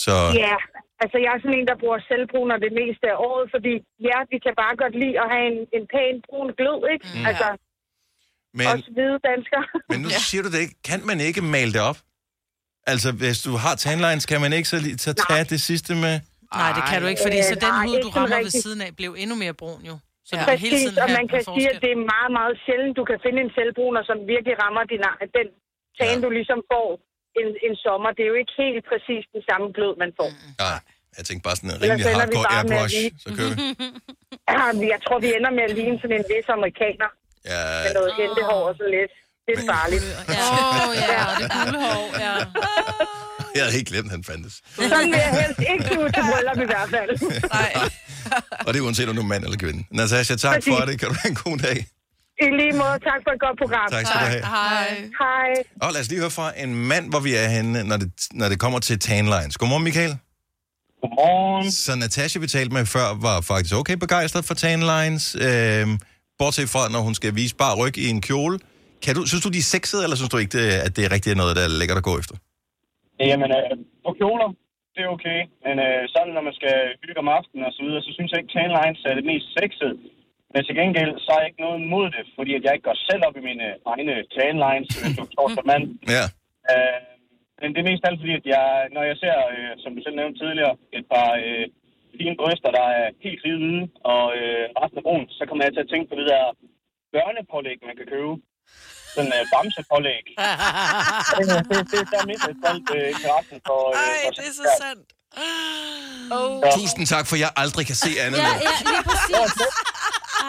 A: Så...
L: Ja, altså jeg er sådan en, der bruger selvbruner det meste af året, fordi ja, vi kan bare godt lide at have en, en pæn brun glød, ikke?
A: Mm.
L: Mm. Altså,
A: Men,
L: også hvide danskere.
A: men nu siger du det ikke. Kan man ikke male det op? Altså, hvis du har tandlines, kan man ikke så, lige- så tage det sidste med?
B: Nej, det kan du ikke, fordi
L: Øh,
B: så den
L: nej,
B: hud, du
L: ikke sådan
B: rammer ved
L: rigtigt.
B: siden af, blev endnu mere brun jo. Så
L: Ja.
B: du kan hele
L: Præcis,
B: tiden
L: og
B: have
L: man
B: en
L: kan sige,
B: forskel.
L: at det er meget, meget sjældent, du kan finde en selvbruner, som virkelig rammer din, den tan, du ligesom får en, en sommer. Det er jo ikke helt præcis den samme glød, man får. Mm.
A: Nej, jeg tænkte bare sådan en
L: Ellers
A: rimelig
L: ender vi
A: hardcore
L: bare med at
A: airbrush.
L: lige-
A: Så kører vi.
L: Ja, men jeg tror, vi ender med at ligne sådan en vis amerikaner
A: Ja,
L: med noget hentehår og sådan lidt. Det er farligt.
B: Åh, ja, og det gule hår, ja.
A: jeg havde helt glemt, at han fandtes.
L: Sådan vil jeg helst ikke se ud til bryllup i hvert fald.
A: Og det er uanset, om du er mand eller kvinde. Natasha, tak
L: Præcis.
A: for det. Kan du have en god dag.
L: I lige måde, tak for et godt program.
A: Tak skal du have.
L: Hej. Hej.
A: Og lad os lige høre fra en mand, hvor vi er henne, når det, når det kommer til tanlines. Godmorgen, Michael. Godmorgen. Så Natasha, vi talte med før, var faktisk okay begejstret for tanlines. Øhm, bortset fra, når hun skal vise bare ryg i en kjole. Kan du, synes du, de er sexede, eller synes du ikke, det, at det er rigtigt noget, der er lækkert at gå efter?
M: Jamen, øh, på kjoler, det er okay. Men øh, sådan, når man skal hygge om aftenen og så videre, så synes jeg ikke, tanlines er det mest sexede. Men til gengæld, så er jeg ikke noget imod det, fordi at jeg ikke går selv op i mine egne tanlines, hvis du forstår som mand.
A: Ja.
M: Øh, men det er mest alt fordi, at jeg, når jeg ser, øh, som du selv nævnte tidligere, et par øh, fine bryster, der er helt hvide hvide, og øh, resten er brun, så kommer jeg til at tænke på det der børnepålæg, man kan købe. Sådan øh, bamsepålæg. det, det, det er så mistet alt øh, interessen for... Øh, Ej,
C: det er så sandt.
D: Oh.
A: Tusind tak, for jeg aldrig kan se andet.
D: Ja,
A: Ja,
D: ja, lige præcis.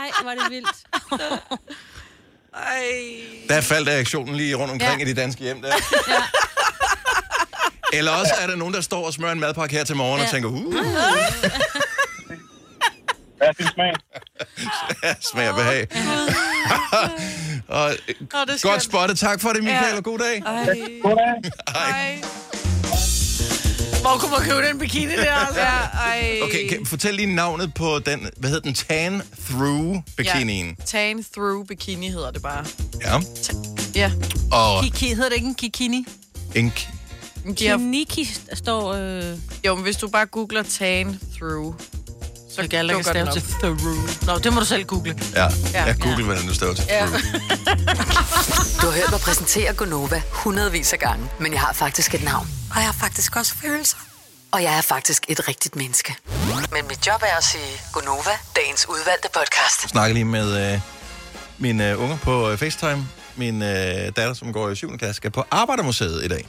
D: Ej, var det vildt.
C: Ej.
A: Der faldt reaktionen lige rundt omkring ja. i de danske hjem der. Eller også er der nogen, der står og smører en madpakke her til morgen ja. og tænker, uh,
M: Hvad er din smag?
A: smager behag.
M: Nå,
A: og,
M: det er
A: øh, godt
M: skønt.
A: spottet. Tak for det, Michael, ja. og god dag.
C: Ej.
A: Ej.
B: Hvor kunne man købe den bikini der, altså?
C: Ja, ej.
A: Okay, kan, fortæl lige navnet på den, hvad hedder den, tan-through-bikinien.
C: Ja. Tan through bikini hedder det bare.
A: Ja.
C: Ja.
A: Og
B: Kiki, hedder det ikke en kikini?
C: De
A: en
C: har... Kiniki står... Øh... Jo, men hvis du bare googler tan through, så
B: Jeg kan aldrig
C: dukker den
B: stave til
C: op.
B: through. Nå, det må du selv google.
A: Ja,
B: Ja.
A: jeg googlede, hvordan det står til.
B: Ja.
E: Du har hørt mig præsentere Gonova hundredvis af gange, men jeg har faktisk et navn. Og jeg har faktisk også følelser. Og jeg er faktisk et rigtigt menneske. Men mit job er at sige Gonova, dagens udvalgte podcast.
A: snakkede lige med øh, mine øh, unger på øh, FaceTime. Min øh, datter, som går i 7. klasse, skal på Arbejdermuseet i dag,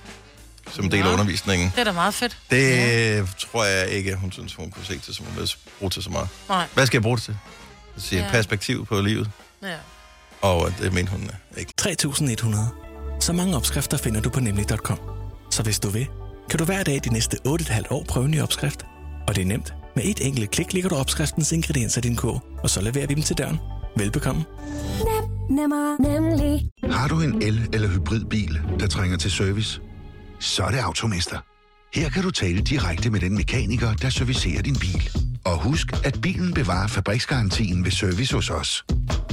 A: som del af undervisningen.
B: Det er da meget fedt.
A: Det øh, tror jeg ikke, hun synes, hun kunne se til, som hun vil bruge til så meget.
B: Nej.
A: Hvad skal jeg bruge det til? Jeg siger,
B: Ja.
A: ja. perspektiv på livet.
B: Ja.
A: Og øh, det mente hun ikke.
N: 3.100. Så mange opskrifter finder du på nemlig.com. Så hvis du vil, kan du hver dag de næste 8,5 år prøve en ny opskrift. Og det er nemt. Med et enkelt klik ligger du opskriftens ingredienser i din kog, og så leverer vi dem til døren. Velbekomme.
G: Nem, nemmer, nemlig.
O: Har du en el- eller hybridbil, der trænger til service? Så er det Automester. Her kan du tale direkte med den mekaniker, der servicerer din bil. Og husk, at bilen bevarer fabriksgarantien ved service hos os.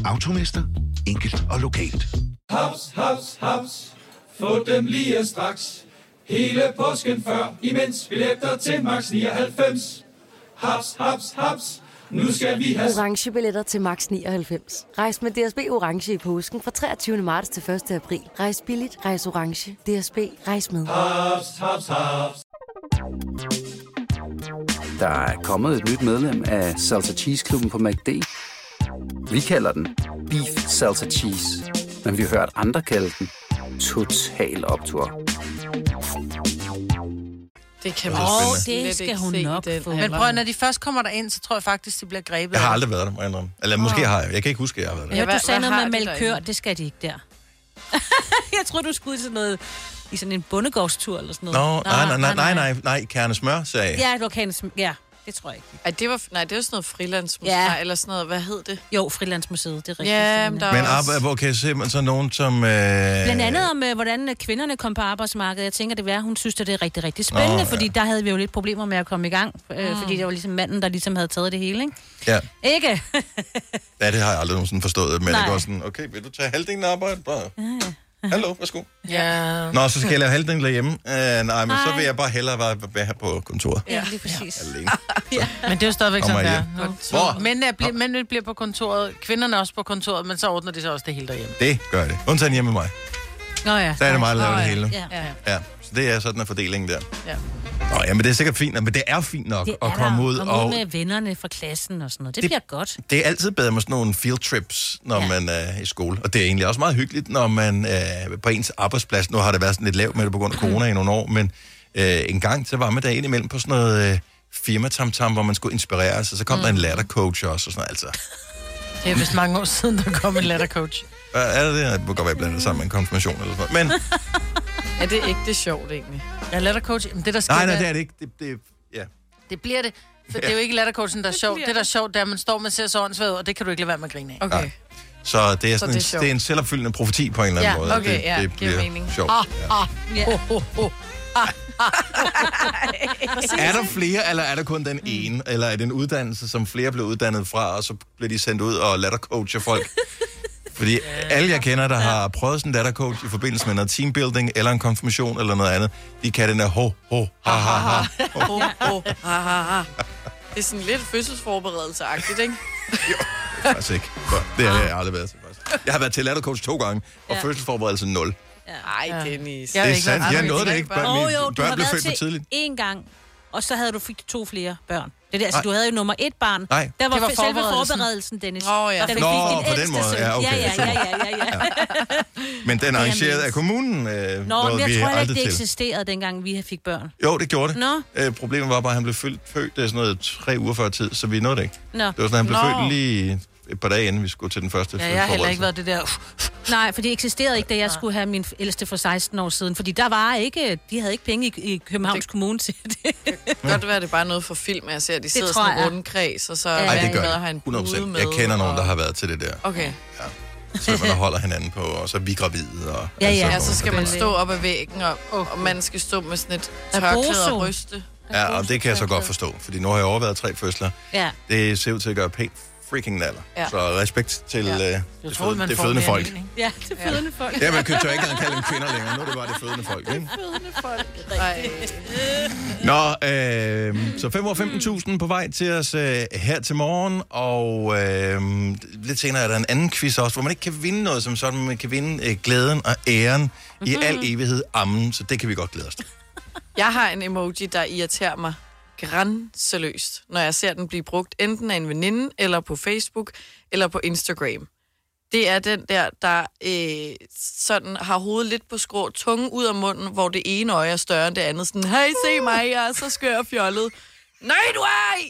O: Automester. Enkelt og lokalt.
P: Haps, haps, haps. Få dem lige straks. Hele påsken før, imens vi læfter til max 99. Haps, haps, haps. Nu skal vi have...
Q: orange billetter til max 99. Rejs med DSB orange i påsken fra 23. marts til 1. april. Rejs billigt, rejs orange. DSB rejs med.
P: Haps, haps, haps.
R: Der er kommet et nyt medlem af Salsa Cheese Klubben på MACD. Vi kalder den Beef Salsa Cheese, men vi har hørt andre kalde den Total Optor.
C: Det kan
R: Åh,
C: man
R: det
C: slet ikke
D: skal hun
C: se i
D: nok
C: den
D: få.
B: Men
C: alder.
B: prøv, at, når de først kommer derind, så tror jeg faktisk, de bliver grebet.
A: Jeg har aldrig været der, må jeg indrømme. Eller måske
B: Åh.
A: har jeg. Jeg kan ikke huske, at jeg har været der.
D: Ja, du sagde noget
C: har
D: med
C: de
D: mælk kør, det skal de ikke der. jeg tror du skulle ud til noget, i sådan en bondegårdstur eller sådan
A: Nå,
D: noget.
A: nej, nej, nej, nej, nej, nej, kerne smør, sagde jeg.
D: Ja, du kan ja, det tror jeg ikke.
C: Ej, det var, nej, det var sådan noget frilandsmuseet,
D: Ja.
C: ja. eller sådan noget, hvad hed det?
D: Jo, Frilandsmuseet, det er rigtigt.
C: Ja, men der
A: Men
C: er også...
A: arbejde, hvor kan jeg se, man så nogen, som... Øh...
D: Blandt andet om, øh, hvordan øh, kvinderne kom på arbejdsmarkedet. Jeg tænker, det være, hun synes, at det er rigtig, rigtig spændende,
A: Nå,
D: oh,
A: ja.
D: ja. fordi der havde vi jo lidt problemer med at komme i gang, øh, mm. fordi det var ligesom manden, der ligesom havde taget det hele, ikke?
A: Ja.
D: Ikke?
A: ja, det har jeg aldrig nogensinde forstået. Men
D: Nej.
A: det går sådan, okay, vil du tage halvdelen af arbejdet? Bare. Hallo, værsgo.
B: Ja.
A: Nå, så skal jeg lave halvdelen derhjemme. Øh, nej, men så
B: Nej.
A: vil jeg bare hellere være, være her på kontoret.
B: Ja, lige præcis.
A: Alene.
B: Ja. Men det er jo stadigvæk
A: Kommer
B: sådan, der.
A: jeg hjem. Hvor?
B: Mændene, øh, bliver, mændene bliver på kontoret, kvinderne er også på kontoret, men så ordner de så også det hele derhjemme.
A: Det gør det. Undtagen hjemme med mig.
B: Nå ja.
A: Så er det mig, der laver
B: Nå
A: det
B: ja.
A: hele.
B: Ja. ja.
A: Ja, så det er sådan en fordeling der.
B: Ja.
A: Nå, ja, men det er sikkert fint, men det er fint nok
D: Det
A: at
D: er
A: komme
D: der.
A: ud.
D: Kom ud
A: og
D: med vennerne fra klassen og sådan noget. Det,
A: Det-
D: det bliver godt.
A: Det er altid bedre med sådan nogle field trips, når ja. man er i skole. Og det er egentlig også meget hyggeligt, når man øh, på ens arbejdsplads, nu har det været sådan lidt lavt med det på grund af corona i nogle år, men øh, en gang, så var man der indimellem på sådan noget øh, firmatamtam, hvor man skulle inspireres, og så kom mm. der en lattercoach også, og sådan noget. altså.
B: Det er vist mange år siden, der kom en lattercoach.
A: hvad Er det det? Det må godt være blandet sammen med en konfirmation eller sådan noget. Men
C: Er det ikke det sjovt, egentlig?
B: Ja, lattercoach, jamen det der sker,
A: nej, nej,
B: er-
A: det er det ikke. Det, det, ja.
B: Det bliver det. For
A: Ja.
B: det er jo ikke lattercoachen, der er sjovt. Det, der er sjovt, det er, at man står med ser så åndssvagt ud, og det kan du ikke lade være med at grine af.
A: Okay. Nej. Så det er,
B: Så det er
A: sådan det er, en,
B: sjovt.
A: det er en selvopfyldende profeti på en eller anden
B: Ja,
A: måde.
B: okay,
A: det,
B: ja,
A: det
B: giver
A: bliver
B: mening.
A: sjovt.
B: Ah,
A: ja.
B: ah, ho, ho, ho. Ah, ah, ho, ho. Præcis.
A: Er der flere, eller er der kun den ene? Eller er det en uddannelse, som flere blev uddannet fra, og så bliver de sendt ud og lattercoacher folk? Fordi alle, jeg kender, der har prøvet sådan en lattercoach i forbindelse med noget teambuilding, eller en konfirmation, eller noget andet, de kan den her ho, ho, ha, ha, ha.
C: Ho, ho, ha, ha, ha. Det er sådan lidt fødselsforberedelse-agtigt, ikke?
A: Faktisk ikke. Så Det har jeg aldrig været til, faktisk. Jeg har været til lattercoach to gange, og
C: Ja.
A: fødselsforberedelse 0.
C: Ej, Dennis.
A: Jeg har Det er ikke været sandt. Jeg andre nåede det ikke. Børn-
D: Åh
A: mine
D: jo, du
A: børn
D: har
A: blev
D: været
A: født for
D: til
A: tidligt.
D: én gang. og så havde du fik to flere børn. Det er det, altså,
A: Nej.
D: du havde jo nummer et barn.
A: Nej.
D: Der var,
A: Det var
D: var selve
A: forberedelsen.
D: forberedelsen, Dennis.
C: Oh,
A: Nå, på den måde. Ja, okay.
D: ja, ja, ja, ja, ja.
A: Men den er arrangeret
D: mente.
A: af kommunen, øh,
D: Nå, men
A: nåede
D: jeg tror
A: vi
D: heller ikke,
A: aldrig
D: det
A: til.
D: eksisterede, dengang vi fik børn.
A: Jo, det gjorde det.
D: Nå.
A: Æ, problemet var bare, at han blev født, født øh, sådan noget tre uger før tid, så vi nåede det ikke.
D: Nå.
A: Det var sådan, at han blev
D: Nå.
A: født lige et par dage, inden vi skulle til den første
D: Ja, jeg har heller ikke
A: forberedelse.
D: været det der... Nej, for det eksisterede ikke, da jeg skulle have min ældste for 16 år siden. Fordi der var ikke... De havde ikke penge i, i Københavns det... Kommune til det.
C: kan godt være, det er bare noget for film, jeg ser. De sidder
D: tror
C: sådan i
D: jeg.
C: runde kreds, og så ja.
A: Ej, det gør
C: med, har
A: jeg.
C: en
A: 100%.
C: pude med.
A: Jeg kender nogen, der har været til det der.
C: Okay.
A: Så man holder hinanden på, og så er vi gravide. Og
C: Ja, ja.
A: alt sådan
C: ja,
A: noget.
C: Altså, så skal man stå op ad væggen, og, og man skal stå med sådan et tørklæde og
D: Rebozo.
C: ryste.
A: Ja, og det kan jeg så godt forstå, fordi nu har jeg overvejet tre fødsler.
C: Ja.
A: Det ser ud til at gøre pænt freaking naller.
C: Ja.
A: Ja. Så respekt til ja. det, det,
B: troede,
A: fødende,
B: man
A: det
B: får
A: fødende
B: mere
A: folk.
B: end
D: Ja, det er fødende folk.
A: Ja, man kan jo ikke engang kalde dem kvinder længere. Nu er det bare det fødende folk, ikke?
C: Fødende folk. Ej.
A: Nå, øh, så 5 år 15.000 på vej til os øh, her til morgen, og øh, lidt senere er der en anden quiz også, hvor man ikke kan vinde noget som sådan, men man kan vinde øh, glæden og æren mm-hmm.
C: Mhm.
A: i al evighed. Ammen, så det kan vi godt glæde os til.
C: Jeg har en emoji, der irriterer mig grænseløst, når jeg ser den blive brugt, enten af en veninde, eller på Facebook, eller på Instagram. Det er den der, der øh, sådan har hovedet lidt på skrå, tunge ud af munden, hvor det ene øje er større end det andet. Sådan, hey, se mig, jeg er så skør og fjollet. Nej, du er ej!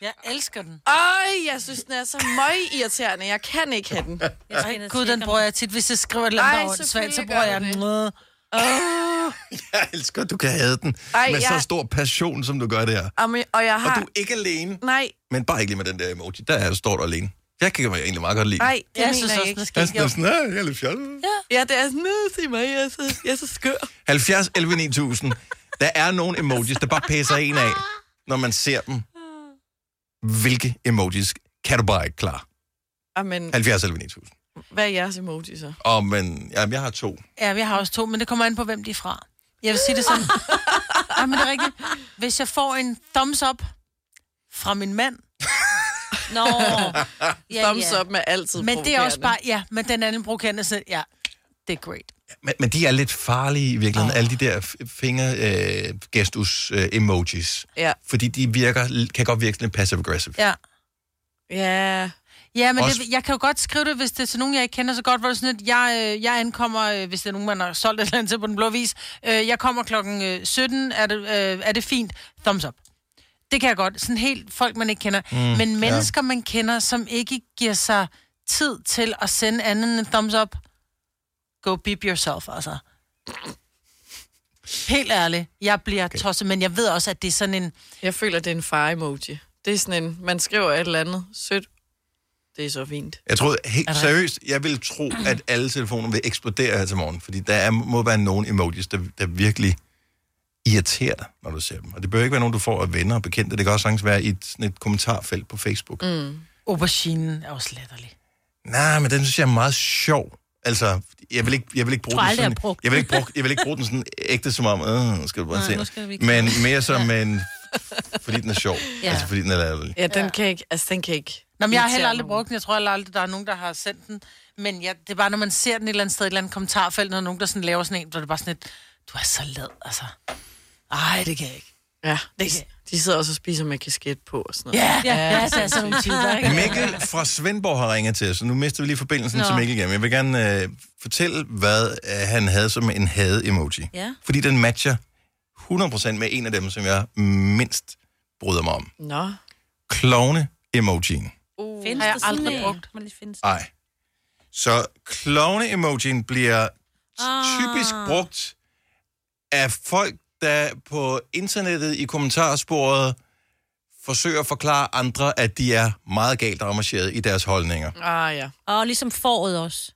B: Jeg elsker den.
C: Øj, jeg synes, den er så møg irriterende. Jeg kan ikke have den.
B: Ej, gud, den bruger jeg tit. Hvis jeg skriver et eller andet,
C: Ej,
B: der er åndssvagt, så
C: selvfølgelig
B: bruger
C: gør
B: jeg
C: du
B: den.
C: Åh.
A: Jeg elsker, at du kan have den
C: Ej,
A: med så
C: jeg-
A: stor passion, som du gør det her.
C: Jamen, og jeg har...
A: Og du er ikke alene.
C: Nej,
A: Men bare ikke lige med den der emoji. Der er, står du alene. Jeg kan jo egentlig meget godt lide.
C: nej, det
B: Jeg
C: mener
B: synes
C: jeg
B: også,
C: ikke.
B: den
A: Jeg er sådan, "Nå, jeg er lidt fjollet.
C: Ja, det er sådan, "Nå, se mig, jeg er så, jeg er så skør.
A: 70 11 9000. Der er nogle emojis, der bare pisser en af, når man ser dem. Hvilke emojis kan du bare ikke klare?
C: Amen,
A: 70 11 9000.
C: hvad er jeres emoji så?
A: Og men, jamen, jeg har to.
B: Ja, vi har også to, men det kommer an på, hvem de er fra. Jeg vil sige det sådan. Nej, men det er rigtigt. Hvis jeg får en thumbs up fra min mand...
D: Nå,
C: ja, Thumbs up med altid
B: Men det er også
C: provokerende.
B: bare, ja, men den anden provokerende, så ja, det er great.
A: Men, men de er lidt farlige i virkeligheden, oh. alle de der f- finger øh, gestus øh, emojis.
C: Ja.
A: Fordi de virker, kan godt virke lidt passive-aggressive.
B: Ja.
C: Ja.
B: Ja, men
A: Også-
B: det, jeg kan jo godt skrive det, hvis det er til nogen, jeg ikke kender så godt, hvor det er sådan, at jeg, øh, jeg ankommer, øh, hvis det er nogen, man har solgt et eller andet til på den blå vis, øh, jeg kommer klokken øh, 17, er det, øh, er det fint? Thumbs up. Det kan jeg godt. Sådan helt folk, man ikke kender.
D: Mm,
B: Mm, men
D: ja.
B: mennesker, ja. man kender, som ikke giver sig tid til at sende anden end en thumbs up, go beep yourself, altså. Helt ærligt, jeg bliver okay. tosset, men jeg ved også, at det er sådan en...
C: Jeg føler, det er en far-emoji. Det er sådan en, man skriver et eller andet sødt. Det er så fint.
A: Jeg troede helt
C: Er der-
A: seriøst, jeg ville tro, at alle telefoner vil eksplodere her til morgen, fordi der er, må være nogle emojis, der, der virkelig irriterer dig, når du ser dem. Og det behøver ikke være nogen, du får af venner og bekendte. Det kan også sagtens være i et, sådan et kommentarfelt på Facebook.
B: Mm. Auberginen er også latterlig.
A: Nej, men den synes jeg er meget sjov. Altså, jeg vil ikke, jeg vil ikke bruge
B: Tror
A: den
B: aldrig, jeg
A: sådan...
B: har brugt den.
A: Jeg vil, ikke bruge, jeg vil ikke bruge den sådan ægte som om, øh, nu skal du
C: Nej,
A: bare
C: nu
A: Nej,
C: skal
A: se.
C: vi ikke-
A: Men mere som en... Fordi den er sjov.
B: Ja.
A: Ja. Altså, fordi den er latterlig.
C: Ja, den kan ikke... Altså, den kan ikke...
B: Nå, men jeg har
C: irritere
B: heller aldrig
C: nogen.
B: brugt den. Jeg tror heller aldrig, der er nogen, der har sendt den. Men ja, det er bare, når man ser den et eller andet sted, et eller andet kommentarfelt, når nogen, der sådan laver sådan en, så er det bare sådan et, du er så lad, altså. Ej, det kan jeg ikke.
C: Ja,
B: Det
C: det de sidder også og spiser med kasket på og sådan noget.
B: Ja, ja, ja, det er sådan nogle typer, ikke?
A: Mikkel fra Svendborg har ringet til os, så nu mister vi lige forbindelsen
D: Nå.
A: Nå. til Mikkel igen. Jeg vil gerne øh, fortælle, hvad øh, han havde som en had-emoji.
D: Ja.
A: Fordi den matcher 100% med en af dem, som jeg mindst bryder mig om.
C: Nå.
A: Klovne-emojien.
D: Uh, Findes
B: har jeg
D: det sådan
B: aldrig
D: en?
B: brugt.
D: Må lige finde sådan
A: Nej. Så klovne-emojien bliver typisk
D: Ah.
A: brugt af folk, der på internettet i kommentarsporet forsøger at forklare andre, at de er meget galt arrangeret i deres holdninger.
C: Ah, ja.
D: Og ligesom foråret også.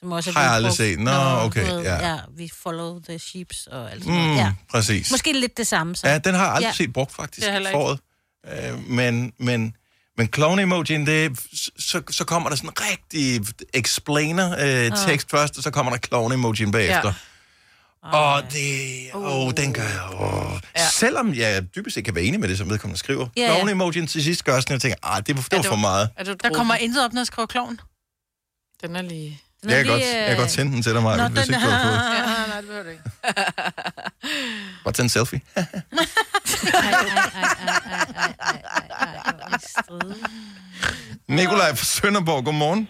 D: Som også er
A: Har jeg
D: blevet
A: aldrig
D: brugt.
A: set. Nå, okay,
D: du ved,
A: ja.
D: ja. vi follow the sheeps og alt sådan
A: Mm,
D: noget. Ja.
A: Præcis.
D: Måske lidt det samme. Så.
A: Ja, den har jeg aldrig ja. set brugt faktisk
D: Altså, Det har jeg
A: i
D: heller
A: foråret. Øh, men, men, men clone-emojien, det, er- så, så kommer der sådan en rigtig explainer-tekst øh, først, og så kommer der clone-emojien bagefter. Ja. Og det... Åh, oh, den gør jeg... Oh. Ja. Selvom jeg dybest set kan være enig med det, som vedkommende skriver.
B: Ja, ja.
A: Ja, ja. Clone-emojien til sidst gør sådan, at jeg tænker, ah, det var, det var for meget.
C: Er du
B: Der kommer intet op, når jeg skriver klovn. øh,
C: Den er lige...
A: Jeg kan, godt, jeg kan godt sende den til dig, Maja, hvis ikke du har fået.
B: Ja, Nej, det behøver du ikke.
A: Bare tage en selfie. Nikolaj fra Sønderborg, godmorgen.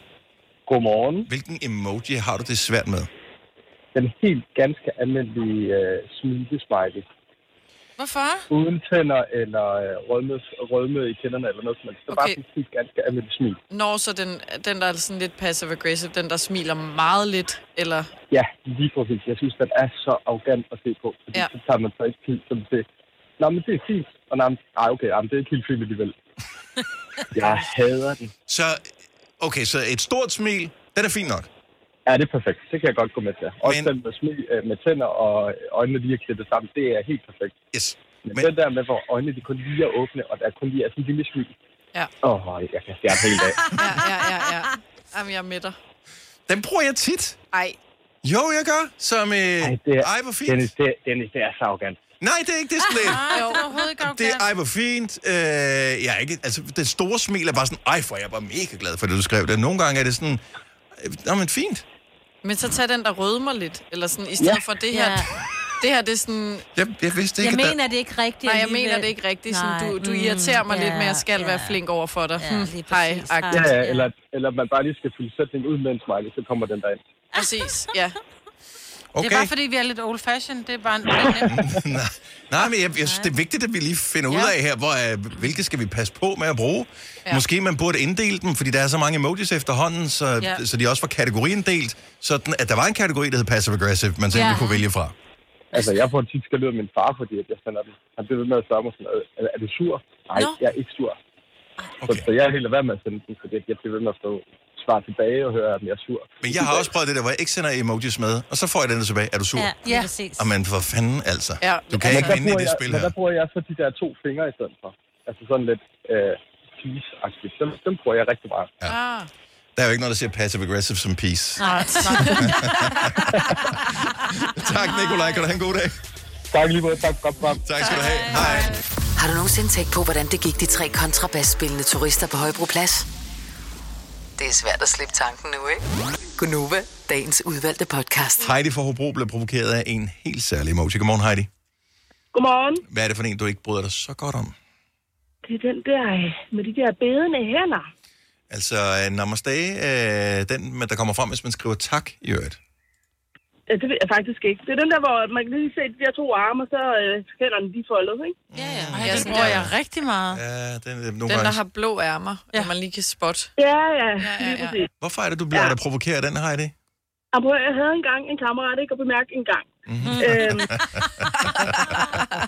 K: Godmorgen.
A: Hvilken emoji har du det svært med?
K: Den helt ganske almindelige øh, smilesmiley.
B: Hvorfor?
K: Uden tænder eller øh, rødme, rødme i kinderne eller noget som helst. Det er bare
C: Okay.
K: sådan helt ganske almindelig smil.
C: Når så den, den der er sådan lidt passive-aggressive, den der smiler meget lidt, eller...
K: Ja, lige præcis. Jeg synes, den er så arrogant at se på, fordi
C: Ja.
K: ja. så tager man sig ikke tid som til, Nå, men det er fint. Og nej, men- ej, okay, jamen, det er ikke helt fint alligevel. Jeg hader den.
A: Så, okay, så et stort smil, den er fint nok.
K: Ja, det er perfekt. Det kan jeg godt gå med til. Også
A: Men-
K: den med smil øh, med tænder og øjnene lige er klippet sammen, det er helt perfekt.
A: Yes.
K: Men, men den der med, hvor øjnene de kun lige er åbne, og der kun lige er sådan en lille smil.
C: Ja.
K: Åh, oh, jeg kan fjerne hele dag.
C: Ja, ja, ja, ja. Jamen, jeg er med dig.
A: Den bruger jeg tit.
C: Ej.
A: Jo, jeg gør. Som, øh, Ej,
K: det er,
A: Ej, hvor fint.
K: Dennis, det, Dennis, det er så arrogant.
A: Nej, det er ikke det slet.
B: Nej, det er overhovedet ikke
A: Det er,
B: arrogant.
A: ej, hvor fint. Øh, jeg er ikke, altså, det store smil er bare sådan, ej, for jeg er bare mega glad for det, du skrev det. Nogle gange er det sådan, øh, nå, men fint.
C: Men så tag den, der rødmer lidt, eller sådan, i stedet ja. for det her... Ja. Det her, det er sådan...
A: Jeg, jeg vidste
D: Jeg
A: ikke, at der-
D: mener det ikke rigtigt
C: Nej, jeg
D: alligevel.
C: mener det ikke rigtigt. Sådan,
D: Nej.
C: du, du
D: Mm,
C: irriterer mig lidt, men jeg skal
D: ja,
C: være flink over for dig. Ja, hmm. Hej,
K: Ja,
C: agtigt.
K: ja, eller, eller man bare lige skal fylde sætningen ud med en smiley, så kommer den der ind.
C: Præcis, ja.
B: Okay. Det er bare fordi, vi er lidt old fashion. Det er bare en
A: Nej, men jeg, jeg synes, det er vigtigt, at vi lige finder ud
B: Ja.
A: af her, hvor, øh, hvilke skal vi passe på med at bruge.
B: Ja.
A: Ja. Måske man burde inddele dem, fordi der er så mange emojis efterhånden, så,
B: Ja.
A: ja. så de også var kategoriinddelt, sådan at der var en kategori, der hed passive-aggressive, man selv
K: Ja.
A: ja. kunne vælge fra.
K: Altså, jeg får tit skal ud af min far, fordi at jeg sender den. Han bliver ved med at spørge mig sådan, "Øh, er, er du sur? Nej,
A: Nå.
K: jeg er ikke sur. Okay. Så, så jeg er helt lade være med at sende den, fordi at jeg bliver ved med at stå svare tilbage og høre, at jeg er sur.
A: Men jeg har også prøvet det der, hvor jeg ikke sender emojis med, og så får jeg den der tilbage. Er du sur?
D: Ja, ja. præcis.
A: Og man for fanden altså.
K: Ja,
A: du kan ikke
K: der
A: vinde i
K: bruger
A: det
K: jeg,
A: spil
K: men
A: her.
K: der bruger jeg så de der to fingre i stedet for. Altså sådan lidt øh, tease-agtigt. Dem, dem bruger jeg rigtig meget.
A: Ja.
C: Ah.
A: Der er jo ikke noget, der siger passive-aggressive som peace.
D: Nej,
A: tak, Nikolaj. Kan du have en god dag?
K: Tak lige måde. Tak, godt, godt.
A: Tak skal du have. Hej.
E: Har du nogensinde tænkt på, hvordan det gik de tre kontrabasspillende turister på Højbroplads? Det er svært at slippe tanken nu, ikke? Gunova, dagens udvalgte podcast.
A: Heidi fra Hobro blev provokeret af en helt særlig emoji. Godmorgen, Heidi.
S: Godmorgen.
A: Hvad er det for en, du ikke bryder dig så godt om?
S: Det er den der øh, med de der bedende hænder.
A: Altså, øh, namaste, øh, den, men der kommer frem, hvis man skriver tak i øvrigt.
S: Ja, det ved jeg faktisk ikke. Det er den der, hvor man kan lige se de der to arme, og så øh, hænderne de er foldet, ikke?
C: Ja, ja.
B: Ej, den bruger jeg rigtig meget.
A: Ja, den, øh,
C: Den,
A: nogle
C: der
A: gange...
C: har blå ærmer, ja. man lige kan spotte.
S: Ja, ja,
C: ja,
S: lige
C: ja.
S: præcis.
A: Hvorfor er det, du bliver ja. der provokeret af den, Heidi?
S: Og prøv, at høre, jeg havde engang en kammerat, ikke? Og bemærke en gang.
A: Mhm.
S: Mm-hmm. Øhm,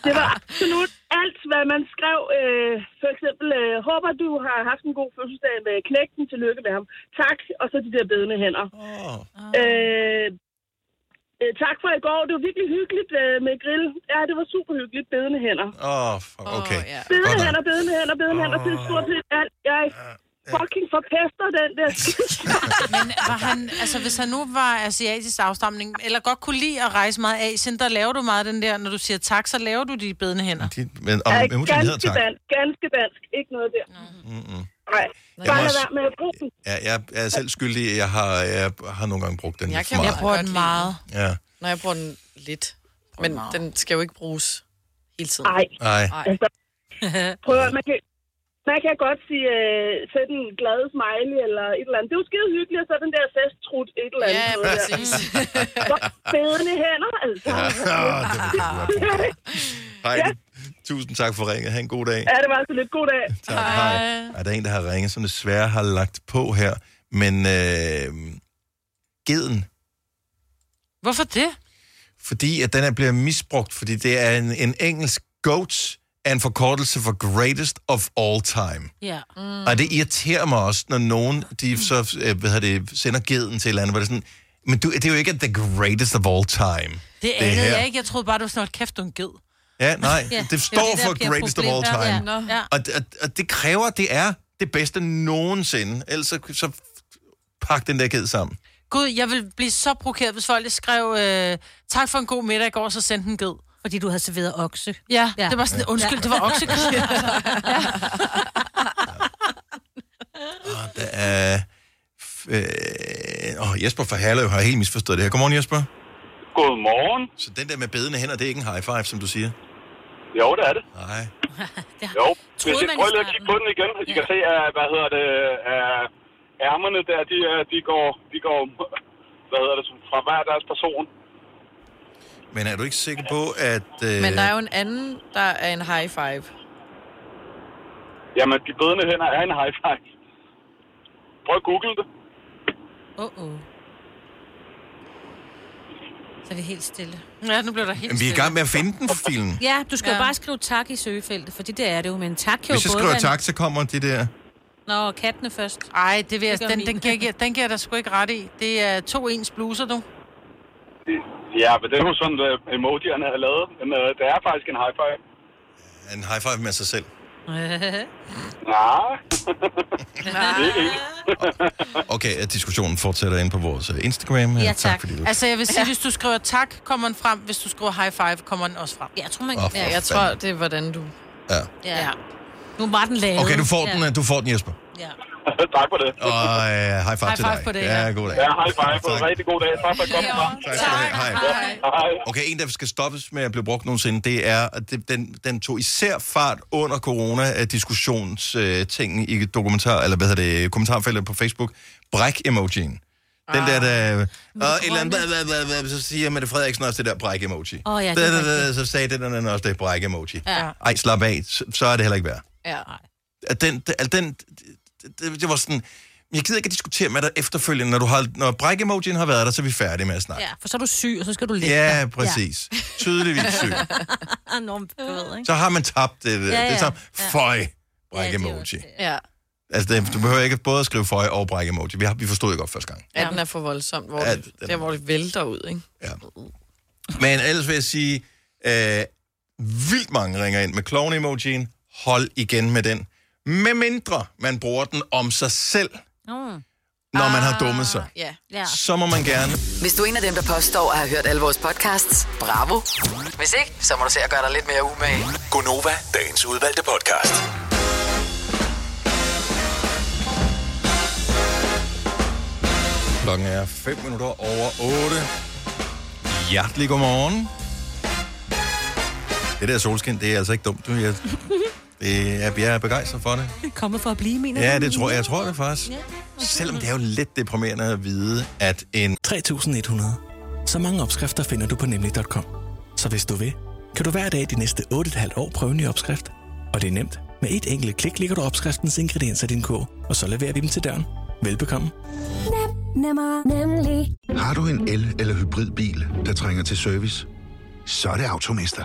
S: det var absolut alt, hvad man skrev. Øh, for eksempel, øh, håber du har haft en god fødselsdag med knægten. Tillykke med ham. Tak. Og så de der bedende hænder.
A: Oh.
S: Øh, øh, tak for i går. Det var virkelig hyggeligt øh, med grill. Ja, det var super hyggeligt. Bedende hænder.
A: Åh, oh, fuck, okay. Oh, ja.
S: Bedende hænder, bedende hænder, bedende hænder. Det er stort set alt. Jeg fucking forpester den der
B: Men var han, altså, hvis han nu var asiatisk afstamning, eller godt kunne lide at rejse meget af Asien, der laver du meget den der, når du siger tak, så laver du de bedende hænder.
A: Men om
S: Ja,
A: emojien hedder
S: ganske
A: tak.
S: dansk, ganske dansk. Ikke noget der.
A: Mm-mm.
S: Nej,
A: Jeg
S: bare
A: må
S: lad
A: også-
S: være med at bruge den.
A: Ja, jeg, jeg er selv skyldig. Jeg har, jeg har nogle gange brugt den
C: Jeg
A: lidt
C: kan
A: for
C: jeg
A: meget.
C: bruger den meget.
A: Ja.
C: Når jeg bruger den lidt. Men den skal jo ikke bruges hele tiden.
S: Nej.
A: Nej.
S: Altså, prøv at, man kan, man kan godt sige, øh, sætte en glad smiley eller et eller andet. Det er jo skide hyggeligt, og så den der festtrut et eller andet.
C: Ja,
S: noget der.
C: præcis.
S: Hvor Bedende hænder, altså.
A: Ja, det vil jeg godt. Heidi, tusind tak for ringet. Ha' en god dag.
S: ja, det var altså lidt god dag.
A: Tak, hej. Ej, der er en, der har ringet, som desværre har lagt på her. Men øh, geden,
B: Hvorfor det?
A: fordi at den er bliver misbrugt, fordi det er en, en engelsk goat er en forkortelse for greatest of all time.
D: Ja. Mm.
A: Og det irriterer mig også, når nogen
C: Mm.
A: de så, øh, hvad hedder det, sender geden til et eller andet, hvor det er sådan, men du, det er jo ikke the greatest of all time.
B: Det anede jeg ikke. Jeg troede bare, du var sådan, "Hold kæft, du er en ged.
A: Ja, nej, det
B: er jo
A: står
B: det, der
A: for
B: bliver
A: greatest of all
B: problemet.
A: time.
B: Ja, ja. Ja.
A: Og, og, og det kræver, at det er det bedste nogensinde. Ellers så, så pak den der ged sammen.
B: Gud, jeg ville blive så provokeret, hvis folk skrev, øh, tak for en god middag i går, så sendte en ged.
D: Fordi du havde serveret okse.
B: Ja, ja. det var sådan, undskyld, det var oksekød.
A: Og der er... Øh, åh, Jesper fra Herlev har helt misforstået det her. Godmorgen, Jesper. God morgen. Så den der med bedende hænder, det er ikke en high five, som du siger?
M: Jo, det er det.
A: Nej.
M: Jo,
A: troede
M: hvis jeg
A: man i
M: prøver lige at kigge på den igen. I kan se, at, hvad hedder det, at ærmerne der, de, er- de, går, de går, hvad hedder det, fra hver deres person.
A: Men er du ikke sikker på, at... Øh,
C: Men der er jo en anden, der er en high five.
M: Jamen, de bødende hænder er en high five. Prøv at google det.
D: Uh-oh. Så er det helt stille.
B: Ja, nu blev der helt
A: Jamen, vi er i gang med at finde den for filen.
D: Ja, du skal ja.
B: Ja.
D: jo bare skrive tak i søgefeltet, for det der er det jo, men tak kan
A: Hvis
D: jo både
A: jeg skriver
D: være-
A: tak, så kommer det der...
D: Nå, kattene først.
B: Ej, det vil jeg,
D: Det gør
B: den,
D: min.
B: den, giver, jeg- den giver jeg dig sgu ikke ret i. Det er to ens bluser, du.
M: Ja, men det er jo sådan, at emojierne er lavet. Men øh, det er faktisk en high five.
A: En high five med sig selv.
M: Nej.
A: Okay, at diskussionen fortsætter ind på vores øh, Instagram.
B: Ja,
A: tak fordi du...
B: Altså, jeg vil sige, ja. hvis du skriver tak, kommer den frem. Hvis du skriver high five, kommer den også frem.
D: Jeg tror,
A: man- Åh, for
C: Ja, jeg tror,
A: fanden.
C: det er, hvordan du...
A: Ja.
D: Ja. Nu var den lavet.
A: Okay, du får, den, øh, du får den, Jesper.
D: Ja.
M: tak for det.
A: Og øh, high five,
M: High
A: til
M: five
A: dig.
M: på det,
A: ja.
M: ja.
A: god dag.
M: Ja, high five.
A: Tak.
M: Rigtig god dag. Tak for at komme frem.
A: Tak skal du have. Hej. Okay, en, der skal stoppes med at blive brugt nogensinde, det er, at det, den, den tog især fart under corona-diskussionstingen i dokumentar, eller hvad hedder det, kommentarfeltet på Facebook. Bræk-emojien. Den der,
D: Ah.
A: der... Og et eller andet, bla, bla, bla, bla, så siger Mette Frederiksen også det der bræk-emoji.
D: Åh, ja, det
A: Da,
D: er
A: da, da,
D: rigtigt.
A: Så sagde den anden også det bræk-emoji.
D: Ja.
A: Ej, slap af, så, så er det heller ikke værd.
D: Ja.
A: At den, at den, det, det, det var sådan... Jeg gider ikke at diskutere med dig efterfølgende. Når, du har, når bræk-emojien har været der, så er vi færdige med at snakke.
D: ja, for så er du syg, og så skal du lægge
A: Ja,
D: dig.
A: præcis. Ja. Tydeligvis syg.
D: Ja. Nå, men du ved, ikke?
A: Så har man tabt det. Ja,
D: Ja,
A: ja.
D: ja.
A: Det samme.
D: Ja.
A: Føj, bræk emoji.
C: Ja,
A: Altså, det, du behøver ikke både at skrive føj og bræk emoji. Vi, har, vi forstod det godt første gang.
C: at den er for voldsom, hvor,
A: Ja,
C: ja, det, der, hvor det vælter ud, ikke?
A: Men ellers vil jeg sige, øh, vildt mange ringer ind med clown emojien. Hold igen med den. Med mindre man bruger den om sig selv,
D: Mm.
A: når man har dummet sig.
D: Ah, Ja. ja.
A: Så må man gerne...
E: Hvis du er en af dem, der påstår at have hørt alle vores podcasts, bravo. Hvis ikke, så må du se at gøre dig lidt mere umage.
F: Gonova, dagens udvalgte podcast.
A: Klokken er 5 minutter over 8. Hjertelig godmorgen. Det der solskin, det er altså ikke dumt. Du, jeg, det er, jeg er begejstret for det.
D: Kommet for at blive, mener
A: Ja,
D: du?
A: det tror jeg. Jeg tror det faktisk. Selvom det er jo lidt deprimerende at vide, at en...
N: 3.100. Så mange opskrifter finder du på nemlig.com. Så hvis du vil, kan du hver dag de næste 8,5 år prøve en ny opskrift. Og det er nemt. Med et enkelt klik ligger du opskriftens ingredienser i din kog, og så leverer vi dem til døren. Velbekomme.
O: Nem, nemmer, nemlig. Har du en el- eller hybridbil, der trænger til service? Så er det Automester.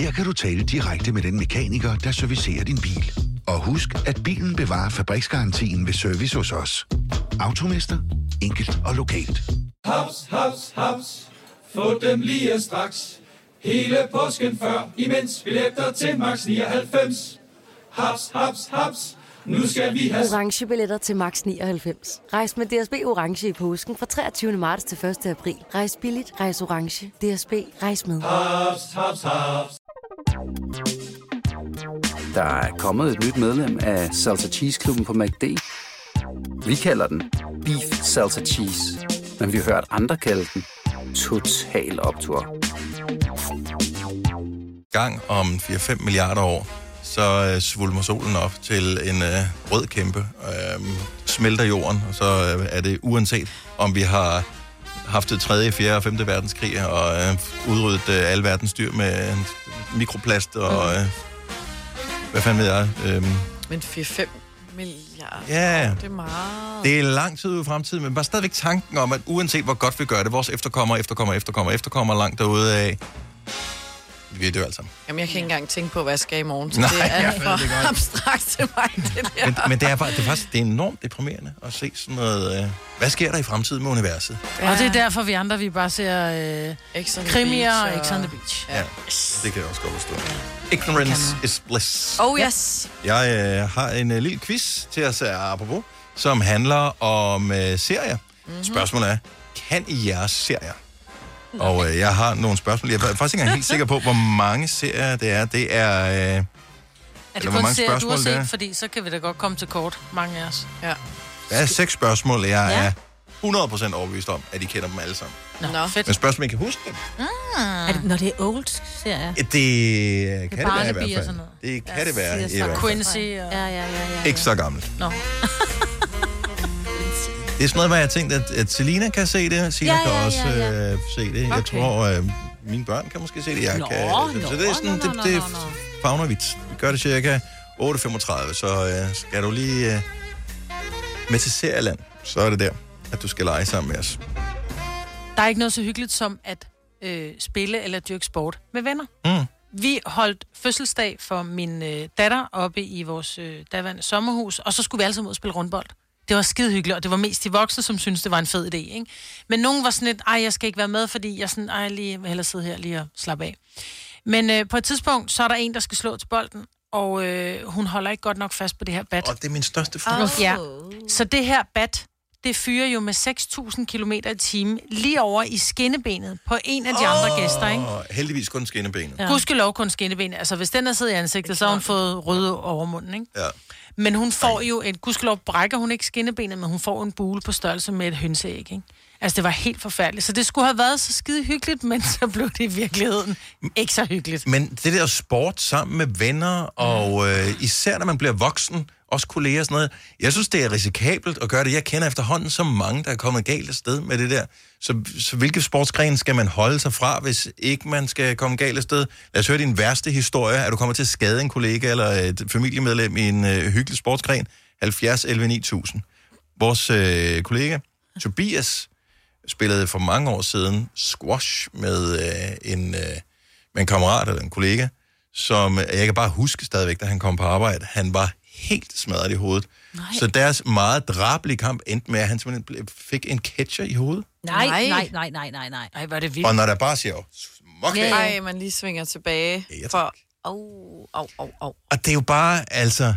O: Her kan du tale direkte med den mekaniker, der servicerer din bil. Og husk, at bilen bevarer fabriksgarantien ved service hos os. Automester. Enkelt og lokalt.
P: Haps, haps, haps. Få dem lige straks. Hele påsken før, imens billetter til max 99. Haps, haps, haps. Nu skal vi have
Q: orange billetter til max 99. Rejs med DSB orange i påsken fra 23. marts til 1. april. Rejs billigt, rejs orange. DSB rejs med.
P: haps, haps, haps.
R: Der er kommet et nyt medlem af Salsa Cheese Klubben på MACD. Vi kalder den Beef Salsa Cheese, men vi har hørt andre kalde den Total Optor.
A: gang om 4-5 milliarder år, så øh, svulmer solen op til en øh, rød kæmpe, øh, smelter jorden, og så øh, er det uanset, om vi har haft det 3., 4. og 5. verdenskrig, og øh, udryddet øh, alle verdens dyr med øh, mikroplast og... Øh, hvad fanden ved jeg? Øh,
C: Men 4-5 milliarder,
A: Ja.
C: det er meget.
A: Det er lang tid ude i fremtiden, men bare stadigvæk tanken om, at uanset hvor godt vi gør det, vores efterkommere, efterkommere, efterkommere, efterkommere langt derude af, vi dør alle sammen.
C: Jamen, jeg kan ikke engang tænke på, hvad jeg skal i morgen, så
A: Nej,
C: Nej, det er
A: jeg
C: alt
A: ved det
C: for
A: godt.
C: abstrakt til mig, det der.
A: Men, men det, er, bare- det er faktisk det er enormt deprimerende at se sådan noget, øh, hvad sker der i fremtiden med universet?
B: Ja. Og det er derfor, vi andre, vi bare ser øh, krimier og Ex on the Beach.
A: Ja, det kan jeg også godt forstå. Ignorance is bliss.
C: Oh yes.
A: Jeg øh, har en øh, lille quiz til os, øh, apropos, som handler om øh, serier. Mm-hmm. Spørgsmålet er, kan I jeres serier? Og øh, jeg har nogle spørgsmål. Jeg er faktisk ikke engang helt sikker på, hvor mange serier det er. Det er... Øh, er
B: Er det kun serier, du har set? Fordi så kan vi da godt komme til kort, mange af os. Ja.
A: Der er seks spørgsmål, jeg ja. er 100% overbevist om, at de kender dem alle sammen.
D: Nå, Nå. fedt.
A: Men spørgsmålet, om I kan huske dem.
B: Ah.
D: Er det, når det er old serier?
A: Det, det kan det være i hvert
D: Barnaby og
A: fald.
D: sådan
A: Det kan det være i hvert fald.
B: Quincy og...
D: Ja, ja, ja. ja.
A: Ikke så gammelt.
B: Nå.
A: Det er sådan noget, hvor jeg har tænkt, at, at Selina kan se det, Sina
B: Ja,
A: kan
B: ja, ja,
A: også
B: ja.
A: Øh, se det. Jeg tror, øh, mine børn kan måske se det. Jeg
B: Nå,
A: kan,
B: nå,
A: så det er sådan,
B: nå, nå, nå,
A: det, det
B: nå, nå.
A: fagner vi. Vi gør det cirka 8.35, så øh, skal du lige øh, med til Serieland, så er det der, at du skal lege sammen med os.
B: Der er ikke noget så hyggeligt som at øh, spille eller dyrke sport med venner.
A: Mm.
B: Vi holdt fødselsdag for min øh, datter oppe i vores øh, daværende sommerhus, og så skulle vi alle sammen ud og spille rundbold. Det var skide hyggeligt, og det var mest de voksne, som syntes, det var en fed idé. Ikke? Men nogen var sådan lidt, ej, jeg skal ikke være med, fordi jeg sådan, ej, lige, jeg vil hellere sidde her lige og slappe af. Men øh, på et tidspunkt, så er der en, der skal slå til bolden, og øh, hun holder ikke godt nok fast på det her bat.
A: Og det er min største
B: Oh. Ja. Så det her bat, det fyrer jo med 6.000 km i timen lige over i skinnebenet på en af de oh. andre gæster, ikke?
A: Og heldigvis kun skinnebenet.
B: Ja. Gudskelov kun skinneben. Altså, hvis den er siddet i ansigtet, så har hun fået røde over munden, ikke?
A: Ja.
B: Men hun får jo en... Gudskelov brækker hun ikke skinnebenet, men hun får en bule på størrelse med et hønseæg, ikke? Altså, det var helt forfærdeligt. Så det skulle have været så skide hyggeligt, men så blev det i virkeligheden ikke så hyggeligt.
A: Men det der sport sammen med venner, og øh, især når man bliver voksen, også kolleger og sådan noget, jeg synes, det er risikabelt at gøre det. Jeg kender efterhånden så mange, der er kommet galt af sted med det der. Så, så hvilke sportsgren skal man holde sig fra, hvis ikke man skal komme galt af sted? Lad os høre din værste historie, at du kommer til at skade en kollega eller et familiemedlem i en øh, hyggelig sportsgren. 70 11 9000. Vores øh, kollega, Tobias, spillede for mange år siden squash med øh, en... Øh, med en kammerat eller en kollega, som øh, jeg kan bare huske stadigvæk, da han kom på arbejde, han var helt smadret i hovedet. Nej. Så deres meget drabelige kamp endte med, at han simpelthen ble- fik en catcher i hovedet.
D: Nej, nej, nej, nej, nej, nej.
B: Ej, var det
A: Og når der bare siger, okay.
C: Ja, Ej, man lige svinger tilbage.
A: Ja,
C: for... Au, au, au, au.
A: og det er jo bare, altså,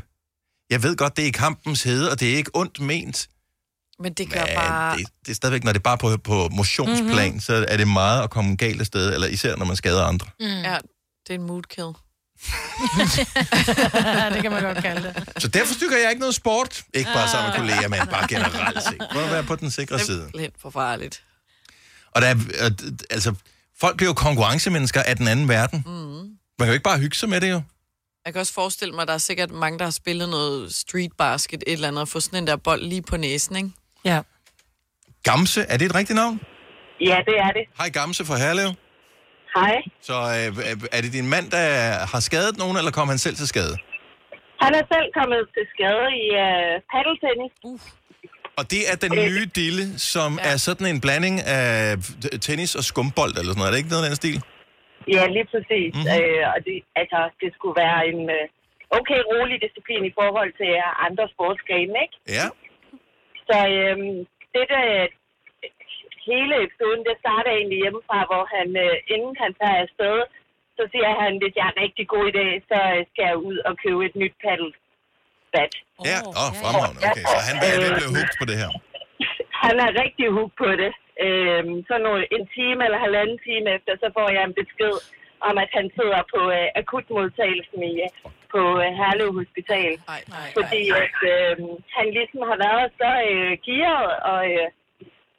A: jeg ved godt, det er i kampens hede, og det er ikke ondt ment,
C: Men det gør
A: men
C: bare...
A: det, det er stadigvæk, når det er bare på, på motionsplan,
C: Mhm.
A: mm-hmm. så er det meget at komme galt af sted, eller især når man skader andre.
C: Mm. Ja, det er en mood kill.
B: det kan man godt kalde det.
A: Så derfor stykker jeg ikke noget sport. Ikke bare sammen med
C: Ah.
A: kolleger, men bare generelt set. Prøv at være på den sikre side.
C: Lidt for farligt.
A: Og der er, øh, d- altså, folk bliver jo konkurrencemennesker af den anden verden. Mm.
C: Mhm.
A: Man kan jo ikke bare hygge sig med det jo.
C: Jeg kan også forestille mig, at der er sikkert mange, der har spillet noget street basket, et eller andet, og få sådan en der bold lige på næsen, ikke?
B: Ja.
A: Gamse, er det et rigtigt navn?
T: Ja, det er det.
A: Hej Gamse fra Herlev.
T: Hej.
A: Så øh, øh, er det din mand, der har skadet nogen, eller kom han selv til skade?
T: Han er selv kommet til skade i øh, paddeltennis. Uh.
A: Og det er den nye dille, som ja. er sådan en blanding af t- tennis og skumbold, eller sådan noget. Er det ikke noget af den stil?
T: Ja, lige præcis.
A: Mhm.
T: Mm-hmm. Øh, og det, altså, det skulle være en øh, okay rolig disciplin i forhold til øh, andre sportsgrene, ikke?
A: Ja.
T: Så øhm, det der, hele episoden, det starter egentlig hjemmefra, hvor han, øh, inden han tager afsted, så siger han, hvis jeg er rigtig god i dag, så øh, skal jeg ud og købe et nyt paddelbat.
A: Ja, åh, oh, fremragende. Okay, så han er ved at blive hugt på det her.
T: Han er rigtig hooked på det. Øhm, så nu en time eller halvanden time efter, så får jeg en besked om, at han sidder på øh, akutmodtagelsen i, øh, på øh, Herlev Hospital.
C: Ej, nej,
T: fordi at øh, han ligesom har været så øh, gearet og øh,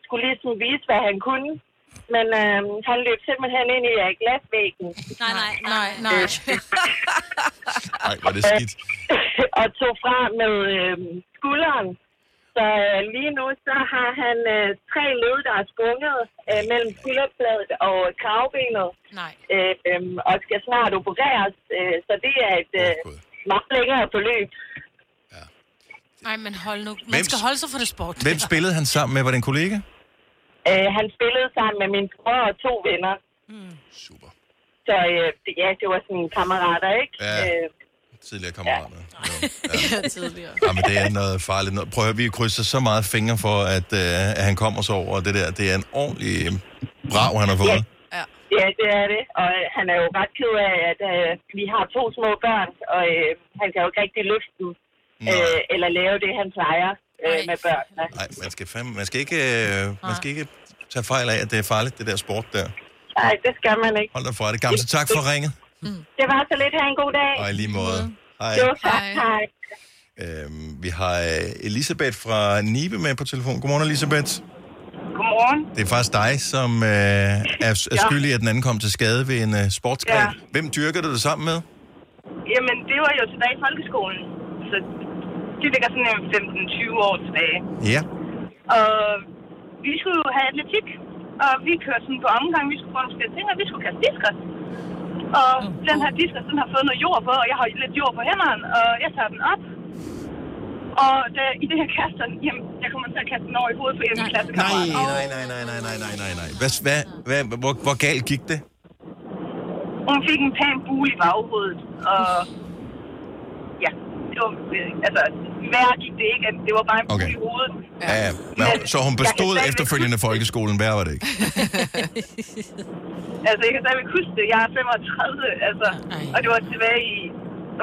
T: skulle ligesom vise, hvad han kunne. Men øh, han løb simpelthen ind i øh, glasvæggen. Øh,
D: Nej, nej, nej, nej.
A: Nej, var det skidt.
T: og tog fra med øh, skulderen. Så øh, lige nu så har han øh, tre led, der er sprunget øh, mellem skulderbladet og kravbenet.
B: Nej.
T: Øh, øh, og skal snart opereres. Øh, så det er et øh, meget længere forløb.
B: Nej, men hold nu. Man
A: Hvem-
B: skal holde sig for det sport.
A: Hvem spillede han sammen med? Var det en kollega?
T: Øh, han spillede sammen med min bror og to venner.
B: Mm.
T: Super. Så øh, det- ja, det var sådan kammerater, ikke?
A: Ja.
T: Øh,
A: Tidligere kammerater.
C: Ja, tidligere.
A: Ja, men det er noget farligt. noget. Prøv at høre, vi krydser så meget fingre for, at, øh, at han kommer så over og det der. Det er en ordentlig øh, brav, han har fået.
T: ja, det er det. Og øh, han er jo ret ked af, at øh, vi har to små børn, og øh, han kan jo ikke rigtig løfte dem. Øh, eller lave det, han plejer øh, med børnene.
A: Nej, man skal, fandme, man, skal ikke, øh, man skal ikke tage fejl af, at det er farligt, det der sport der.
T: Nej, det skal man ikke.
A: Hold dig fra det. Gamse, tak for ringet.
T: Det var så lidt. Ha' en god dag.
A: Og i lige måde. Hej.
T: Jo, tak. Hej.
A: Øhm, vi har øh, Elisabeth fra Nibe med på telefon. Godmorgen, Elisabeth.
U: Godmorgen.
A: Det er faktisk dig, som øh, er, er
U: Ja.
A: skyldig, i, at den anden kom til skade ved en øh, sportsgren.
U: Ja.
A: Hvem dyrker du det sammen med?
U: Jamen, det var jo tilbage i folkeskolen. Så det ligger sådan en 15-20 år tilbage.
A: Ja.
U: Og vi skulle jo have atletik. Og vi kørte sådan på omgang. Vi skulle få nogle forskellige ting, og vi skulle kaste diskus. Og den her diskus, den har fået noget jord på, og jeg har lidt jord på hænderne. Og jeg tager den op. Og da, i det her kaster, jamen, jeg kommer til at kaste den over i hovedet på en klassekammerat.
A: Nej, nej, nej, nej, nej, nej, nej, nej, nej. Hvad, hvad, hvad, hvor, hvor galt gik det?
U: Hun fik en pæn bule i baghovedet, og ja, det var, øh, altså, værre gik det ikke, at det var bare en bule
A: Okay.
U: i hovedet.
A: Ja. Ja, men- så hun bestod efterfølgende folkeskolen. Hvad var det ikke?
U: Altså, jeg kan stadigvæk huske det. Jeg er 35, altså, og det var tilbage i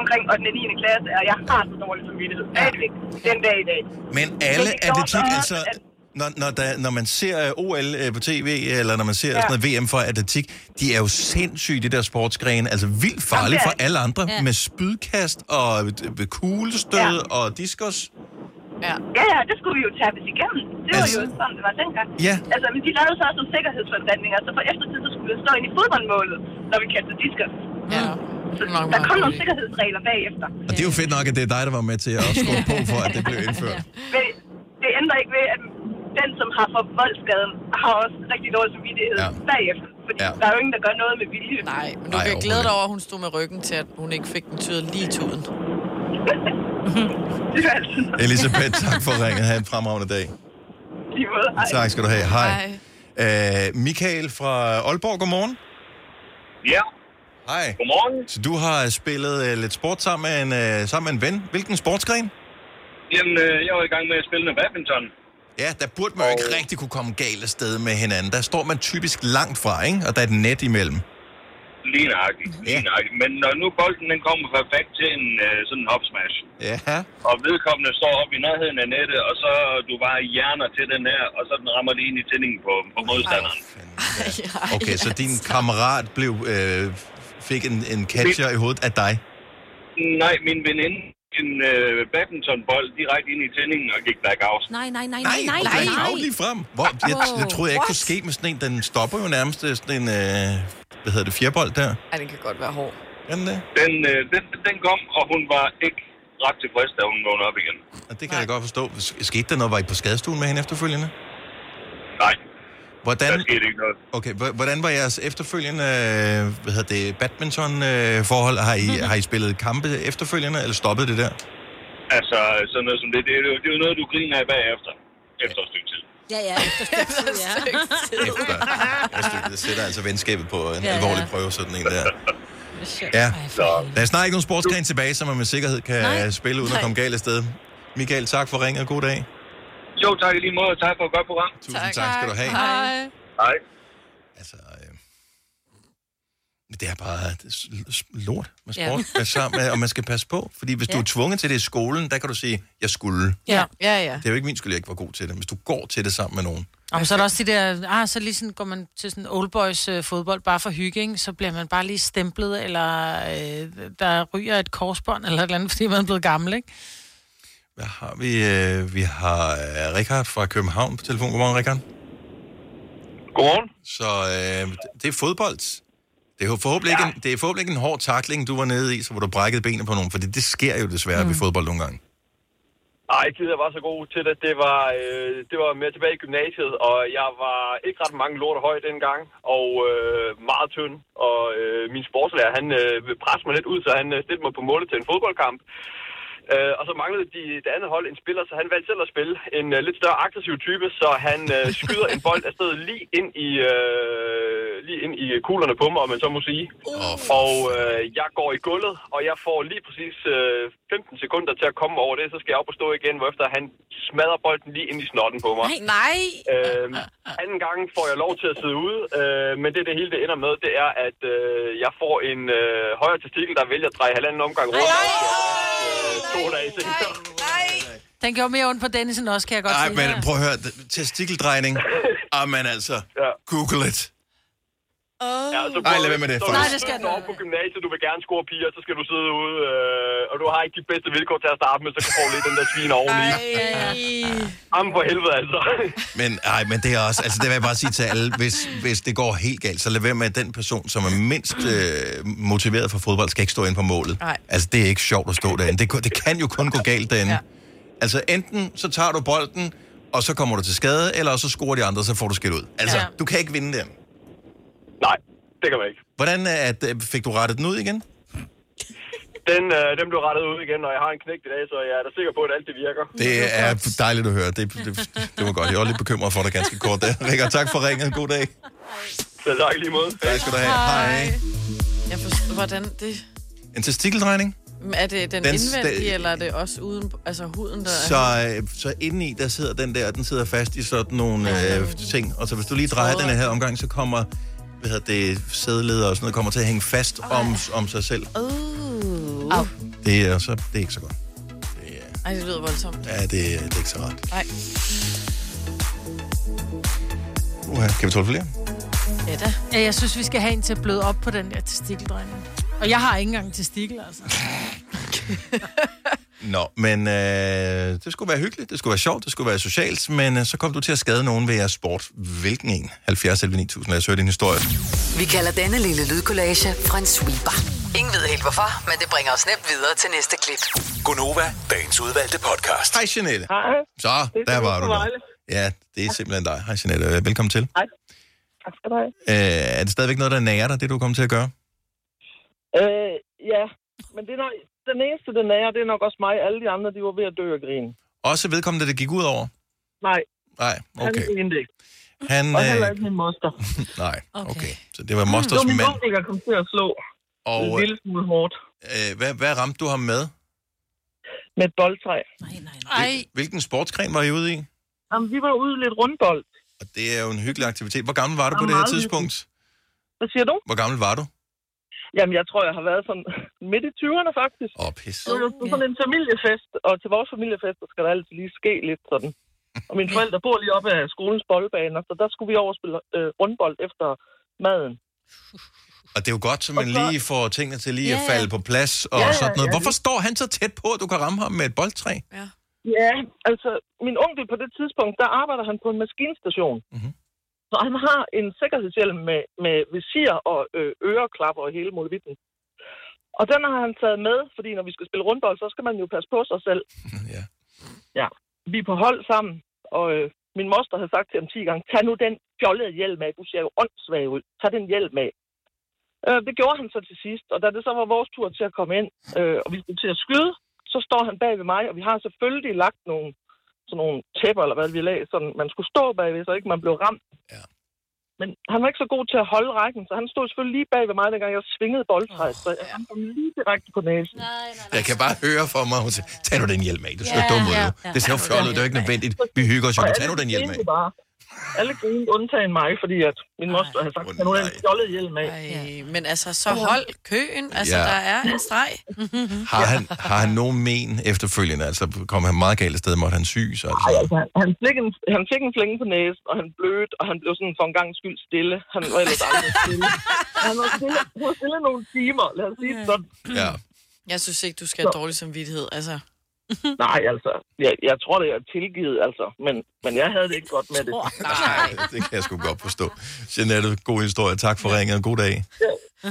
U: omkring 8. og 9. klasse, og jeg har så dårlig samvittighed. Stadigvæk. Den dag i dag.
A: Men
U: Men det
A: alle
U: gjorde
A: atletik,
U: bare,
A: altså...
U: at-
A: Når, når, der, når man ser øh, OL øh, på tv, eller når man ser
U: Ja.
A: ja. sådan noget VM for atletik, de er jo sindssyge, de der sportsgrene. Altså vildt farlige for alle andre, ja. med spydkast og øh, kuglestød ja. og diskus.
C: Ja.
U: ja, ja, det skulle vi jo tappes igennem. Det var
A: Altså-
U: jo sådan, det var dengang.
A: Ja.
U: Altså, men de lavede så også nogle sikkerhedsforanstaltninger, så for eftertid, så skulle det stå ind i fodboldmålet, når vi kastede disker.
C: Ja.
U: Så der kom nogle sikkerhedsregler bagefter.
A: Og det er jo fedt nok, at det er dig, der var med til at skubbe på for, at det blev indført.
U: Men det ændrer ikke ved, at den, som har fået voldskaden, har også rigtig dårlig samvittighed ja. bagefter. Fordi ja. der er jo ingen, der gør noget med vilje.
C: Nej, Men du kan glæde dig over, at hun stod med ryggen til, at hun ikke fik den tyret lige i tuden.
A: Elisabeth, tak for ringet. Ha' en fremragende dag. Tak skal du have. Hej. Hej. Uh, Michael fra Aalborg, godmorgen.
V: Ja.
A: Hej.
V: Godmorgen.
A: Så du har spillet uh, lidt sport sammen med, en, uh, sammen med en ven. Hvilken sportsgren?
V: Jamen, øh, jeg var i gang med at spille med badminton.
A: Ja, der burde man jo ikke rigtig kunne komme galt af sted med hinanden. Der står man typisk langt fra, ikke? Og der er et net imellem.
V: Lige nøjagtigt, lige nøjagtigt. Men når nu bolden den kommer fra back til en øh, sådan en hop smash,
A: Ja.
V: og vedkommende står op i nærheden af nettet, og så du bare hjerner til den her, og så den rammer det ind i tændingen på, på modstanderen.
A: Okay, så din kammerat blev, uh, fik en, en catcher i hovedet af dig.
V: Nej, min veninde en øh, badmintonbold direkte ind i tændingen og gik back out.
D: Nej, nej, nej,
V: Nej,
D: nej, nej,
V: okay.
D: nej.
A: Lige frem. Hvor, jeg, jeg troede jeg ikke kunne ske med sådan en. Den stopper jo nærmest øh, sådan en, øh, hvad hedder det, fjerbold der.
C: Ej, den kan godt være hård.
A: Jamen det.
V: Den, øh, den, den kom, og hun var ikke ret tilfreds, da hun vågnede op igen.
A: Og det kan jeg godt forstå. S- Skete der noget? Var I på skadestuen med hende efterfølgende?
V: Nej.
A: Hvordan, der
V: skete ikke noget.
A: Okay, hv- hvordan var jeres efterfølgende, øh, hvad hedder det, badminton-forhold? har, I, har I spillet kampe efterfølgende, eller stoppet det der?
V: Altså, sådan noget som det, det, er jo, det er jo noget, du griner af bagefter. Efter et stykke tid.
D: Ja, ja,
A: efter Jeg synes, Det sætter altså venskabet på en
D: Ja,
A: ja,
D: ja.
A: alvorlig prøve, sådan en der. Ja, der er snart ikke nogen sportsgren tilbage, som man med sikkerhed kan
V: Nej.
A: Nej. spille uden
V: Nej.
A: at komme galt af sted. Michael, tak for ringet, og god dag.
V: Jo, tak i lige måde, og tak for et godt program.
A: Tusind Tak. tak skal du have.
V: Hej. Hej.
A: Det er bare s- s- lort med
C: Ja.
A: sport ja. sammen med, og man skal passe på. Fordi hvis ja. du er tvunget til det i skolen, der kan du sige, jeg skulle.
B: Ja.
C: Ja, ja.
A: Det er jo ikke min skyld, jeg ikke var god til det. Hvis du går til det sammen med nogen,
B: Jamen, så er der også de der, ah, så lige sådan går man til sådan old boys øh, fodbold bare for hygge, ikke? så bliver man bare lige stemplet, eller øh, der ryger et korsbånd, eller et eller andet, fordi man er blevet gammel, ikke?
A: Hvad har vi? Øh, Vi har øh, Richard fra København på telefon. Godmorgen, Richard.
V: Godmorgen.
A: Så øh, det er fodbold. Det er, forhåbentlig ja. ikke en, det er forhåbentlig ikke en hård takling, du var nede i, så hvor du brækkede benet på nogen, for det sker jo desværre mm. ved fodbold nogle gange.
K: Nej, ikke lige, jeg var så god til det. Det var, øh, det var mere tilbage i gymnasiet, og jeg var ikke ret mange lort høj dengang, og øh, meget tynd. Og øh, min sportslærer, han øh, ville presse mig lidt ud, så han øh, stillede mig på målet til en fodboldkamp. Øh, og så manglede de, det andet hold en spiller, så han valgte selv at spille en øh, lidt større aggressiv type, så han øh, skyder en bold afsted lige ind i, øh, lige ind i kuglerne på mig, om man så må sige. Og øh, jeg går i gulvet, og jeg får lige præcis øh, 15 sekunder til at komme over det, så skal jeg op og stå igen, hvorefter han smadrer bolden lige ind i snotten på mig.
C: Nej, nej.
K: Øh, anden gang får jeg lov til at sidde ude, øh, men det, det hele det ender med, det er, at øh, jeg får en øh, højre testikel, der vælger at dreje halvanden omgang rundt. øh, to dage senere.
B: Den gjorde mere ondt på Dennis end også, kan jeg godt
A: Nej,
B: sige.
A: men prøv at høre. Testikeldrejning. Ah, men altså.
K: Ja.
A: Google it.
B: Oh.
K: Ja, så
A: Ej, lad være med det,
K: Så
A: faktisk.
K: Nej, det skal du op på gymnasiet, du vil gerne score piger, så skal du sidde ude, øh, og du har ikke de bedste vilkår til at starte med, så kan du få lidt den der svin oveni. Jamen for helvede, altså.
A: Men, ej, men det er også, altså det vil jeg bare sige til alle, hvis, hvis det går helt galt, så lad være med at den person, som er mindst øh, motiveret for fodbold, skal ikke stå inde på målet.
G: Nej.
A: Altså det er ikke sjovt at stå derinde. Det, ku- det kan jo kun gå galt derinde. Ja. Altså enten så tager du bolden, og så kommer du til skade, eller så scorer de andre, så får du skilt ud. Altså, ja.
K: Ja.
A: du kan ikke vinde den.
K: Nej, det kan man ikke.
A: Hvordan øh, at, øh, fik du rettet den ud igen?
K: Den, øh, den blev rettet ud igen, og jeg har en knægt i dag, så jeg er da sikker på, at alt det virker.
A: Det er dejligt at høre. Det, det, det var godt. Jeg var lidt bekymret for dig ganske kort der. Rikard, tak for ringet. God dag.
K: Selv tak i lige måde.
A: Tak skal du have. Hej.
C: Jeg forstår, hvordan det...
A: En testikeldrejning?
C: Er det den,
A: Den
C: den
A: sta-
C: indvendige, eller er det også uden, altså huden, der er...
A: Så, øh, så indeni, der sidder den der, den sidder fast i sådan nogle øh, ting. Og så hvis du lige drejer den her omgang, så kommer hvad hedder det, sædeleder og sådan noget, kommer til at hænge fast om, om sig selv.
C: Uh. Au.
A: Det er, så, det er ikke så godt.
C: Ej, det lyder voldsomt.
A: Ja, det, det er ikke så rart.
C: Nej.
A: Uha, kan vi tåle flere?
C: Ja da.
B: Ja, jeg synes, vi skal have en til at bløde op på den der testikeldrejning. Og jeg har ikke engang testikel, altså.
A: Nå, men øh, det skulle være hyggeligt, det skulle være sjovt, det skulle være socialt, men øh, så kom du til at skade nogen ved jeres sport. Hvilken en? 70 11 9000, lad os høre din historie.
E: Vi kalder denne lille lydkollage Frans sweeper. Ingen ved helt hvorfor, men det bringer os nemt videre til næste klip.
F: Gonova, dagens udvalgte podcast.
A: Hej, Jeanette.
F: Hej.
A: Så,
F: Det er Jeanette
A: der var
F: fra
A: du der.
F: Vejle.
A: Ja, det er simpelthen dig. Hej Jeanette, øh, velkommen til.
W: Hej. Tak skal du have.
A: Øh, er det stadigvæk noget, der nærer dig, det du kom til at gøre?
W: Øh, ja, men det er nok, den eneste, den er, det er nok også mig. Alle de andre, de var ved at dø af grin.
A: Også vedkommende, det gik ud over?
W: Nej,
A: Nej,
W: han
A: okay.
W: grinte ikke.
A: Han,
W: Og heller
A: øh,
W: ikke min moster.
A: nej,
W: Okay.
A: okay. Så det var
W: det var
A: mosters
W: min
A: mand.
W: onkel, der kom til at slå
A: Og,
W: og, en
A: øh,
W: lille smule hårdt
A: Øh, hvad, hvad ramte du ham med?
W: med et boldtræ.
B: Ej.
A: Hvilken sportsgren var I ude i?
W: Jamen, vi var ude i lidt rundbold.
A: Og det er jo en hyggelig aktivitet. Hvor gammel var du på
W: Ja,
A: det her
W: meget
A: tidspunkt?
W: Hvad siger du?
A: Hvor gammel var du?
W: Jamen, jeg tror, jeg har været sådan midt i 20'erne, faktisk.
A: Åh, oh, pis.
W: Det var sådan en familiefest, og til vores familiefest, der skal der altid lige ske lidt sådan. Og mine forældre bor lige oppe af skolens boldbaner, så der skulle vi over og spille øh, rundbold efter maden.
A: Og det er jo godt, så man lige får tingene til lige
W: Ja,
A: at
W: ja.
A: falde på plads og
W: Ja, ja,
A: sådan noget.
W: ja,
A: Hvorfor
W: lige-
A: står han så tæt på, at du kan ramme ham med et boldtræ?
W: Ja, altså, min onkel på det tidspunkt, der arbejder han på en maskinstation.
A: Mm-hmm.
W: Så han har en sikkerhedshjelm med, med visir og øh, øreklapper og hele muligheden. Og den har han taget med, fordi når vi skal spille rundbold, så skal man jo passe på sig selv.
A: ja.
W: Ja. Vi er på hold sammen, og øh, min moster havde sagt til ham 10 gange, tag nu den fjollede hjelm af, du ser jo åndssvag ud, tag den hjelm af. Øh, det gjorde han så til sidst, og da det så var vores tur til at komme ind, øh, og vi skulle til at skyde, så står han bag ved mig, og vi har selvfølgelig lagt nogle, sådan nogle tæpper, eller hvad vi lag, så man skulle stå bagved, så ikke man blev ramt. Ja. Men han var ikke så god til at holde rækken, så han stod selvfølgelig lige bag ved mig, dengang jeg svingede boldtræet, så han kom lige direkte på næsen.
A: Jeg kan bare høre for mig, hun siger, tag nu den hjelm af, du ser
W: Ja,
A: dum ud.
W: ja,
A: nu.
W: ja.
A: Det ser jo fjollet ud, det er jo ikke nødvendigt. Vi hygger os jo,
W: Og
A: men
W: alle
A: tag nu den hjelm af.
W: grinte Bare. Alle grinede undtagen mig, fordi at min moster havde sagt, at nu er en fjollet hjelm af.
C: Ej, men altså, så hold køen. Altså, ja.
A: Ja.
C: der er en streg.
A: Har han, har han nogen men efterfølgende? Altså, kom han meget galt afsted, måtte han syg? Så, altså.
W: Altså, han- han, fik en, han fik en flænge på næsen, og han blødte, og han blev sådan for en gang skyld stille. Han var ellers aldrig stille. Han var stille, han var stille nogle timer, lad os sige det sådan.
A: Ja.
C: Jeg synes ikke, du skal have dårlig samvittighed, altså.
W: Nej, altså, jeg, jeg tror, det er tilgivet, altså. Men, men jeg havde det ikke godt med det.
A: Nej, det kan jeg sgu godt forstå. Jeanette, god historie. Tak for ringet. God dag.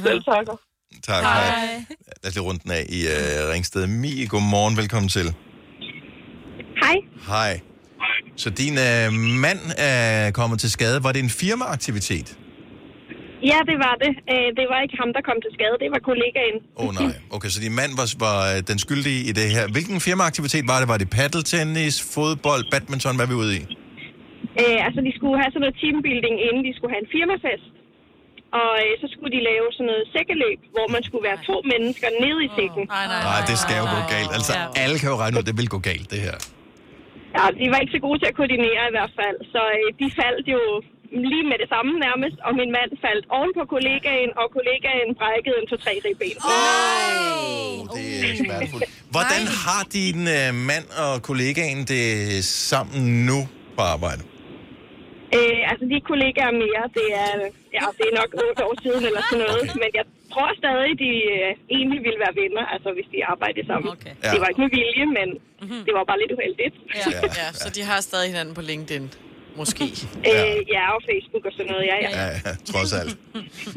W: Selv takker.
A: Tak. Hej. Lad os lige runde den af i uh, Ringsted. Mie, godmorgen. Velkommen til.
H: Hej.
A: Hej. Så din uh, mand er kommet til skade. Var det en firmaaktivitet?
H: Ja, det var det. Øh, Det var ikke ham, der kom til skade. Det var kollegaen.
A: Åh oh, nej. Okay, så din mand var, var øh, den skyldige i det her. Hvilken firmaaktivitet var det? Var det paddeltennis, fodbold, badminton? Hvad er vi ude i?
H: Øh, Altså, de skulle have sådan noget teambuilding, inden de skulle have en firmafest. Og øh, så skulle de lave sådan noget sækkeløb, hvor man skulle være to mennesker nede i sækken.
A: Nej, det skal jo gå galt. Altså, alle kan jo regne ud, at det vil gå galt, det her.
H: Ja, de var ikke så gode til at koordinere i hvert fald. Så øh, de faldt jo lige med det samme nærmest, og min mand faldt oven på kollegaen, og kollegaen brækkede en 2-3 ribben.
A: Det er smertefuldt. Hvordan har din øh, mand og kollegaen det sammen nu på arbejde?
H: Øh, altså, de er kollegaer mere. Det er, ja, det er nok otte år siden eller sådan noget. Okay. Men jeg tror stadig, de øh, egentlig ville være venner, altså hvis de arbejdede sammen. Okay.
A: Ja.
H: Det var ikke med vilje, men mm-hmm. det var bare lidt uheldigt.
C: Ja, ja, så de har stadig hinanden på LinkedIn. Måske.
H: Øh, ja, og Facebook og sådan noget, ja, ja.
A: Ja, ja, trods alt.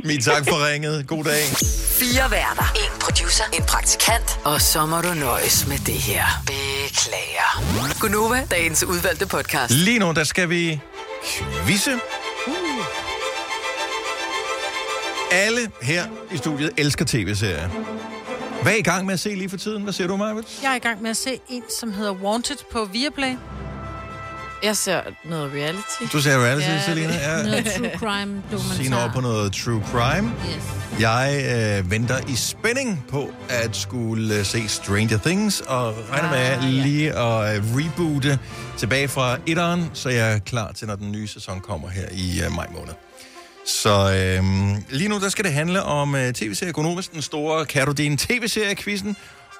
A: Min tak for ringet. God dag.
E: Fire værter. En producer. En praktikant. Og så må du nøjes med det her. Beklager. Gunova, dagens udvalgte podcast.
A: Lige nu, der skal vi quizze. Alle her i studiet elsker tv-serier. Hvad er I gang med at se lige for tiden? Hvad ser du, Marvitt?
B: Jeg er i gang med at se en, som hedder Wanted på Viaplay.
C: Jeg ser noget reality.
A: Du ser reality, Selina? Ja.
D: Noget true crime
A: Signe over
D: dokumentar.
A: på noget true crime. Jeg øh, venter i spænding på at skulle øh, se Stranger Things, og regner med ah, lige at øh, reboote tilbage fra etteren, så jeg er klar til, når den nye sæson kommer her i øh, maj måned. Så øh, lige nu, der skal det handle om øh, tv-serie Gonovis, den store Kan du din tv-serie-quizzen.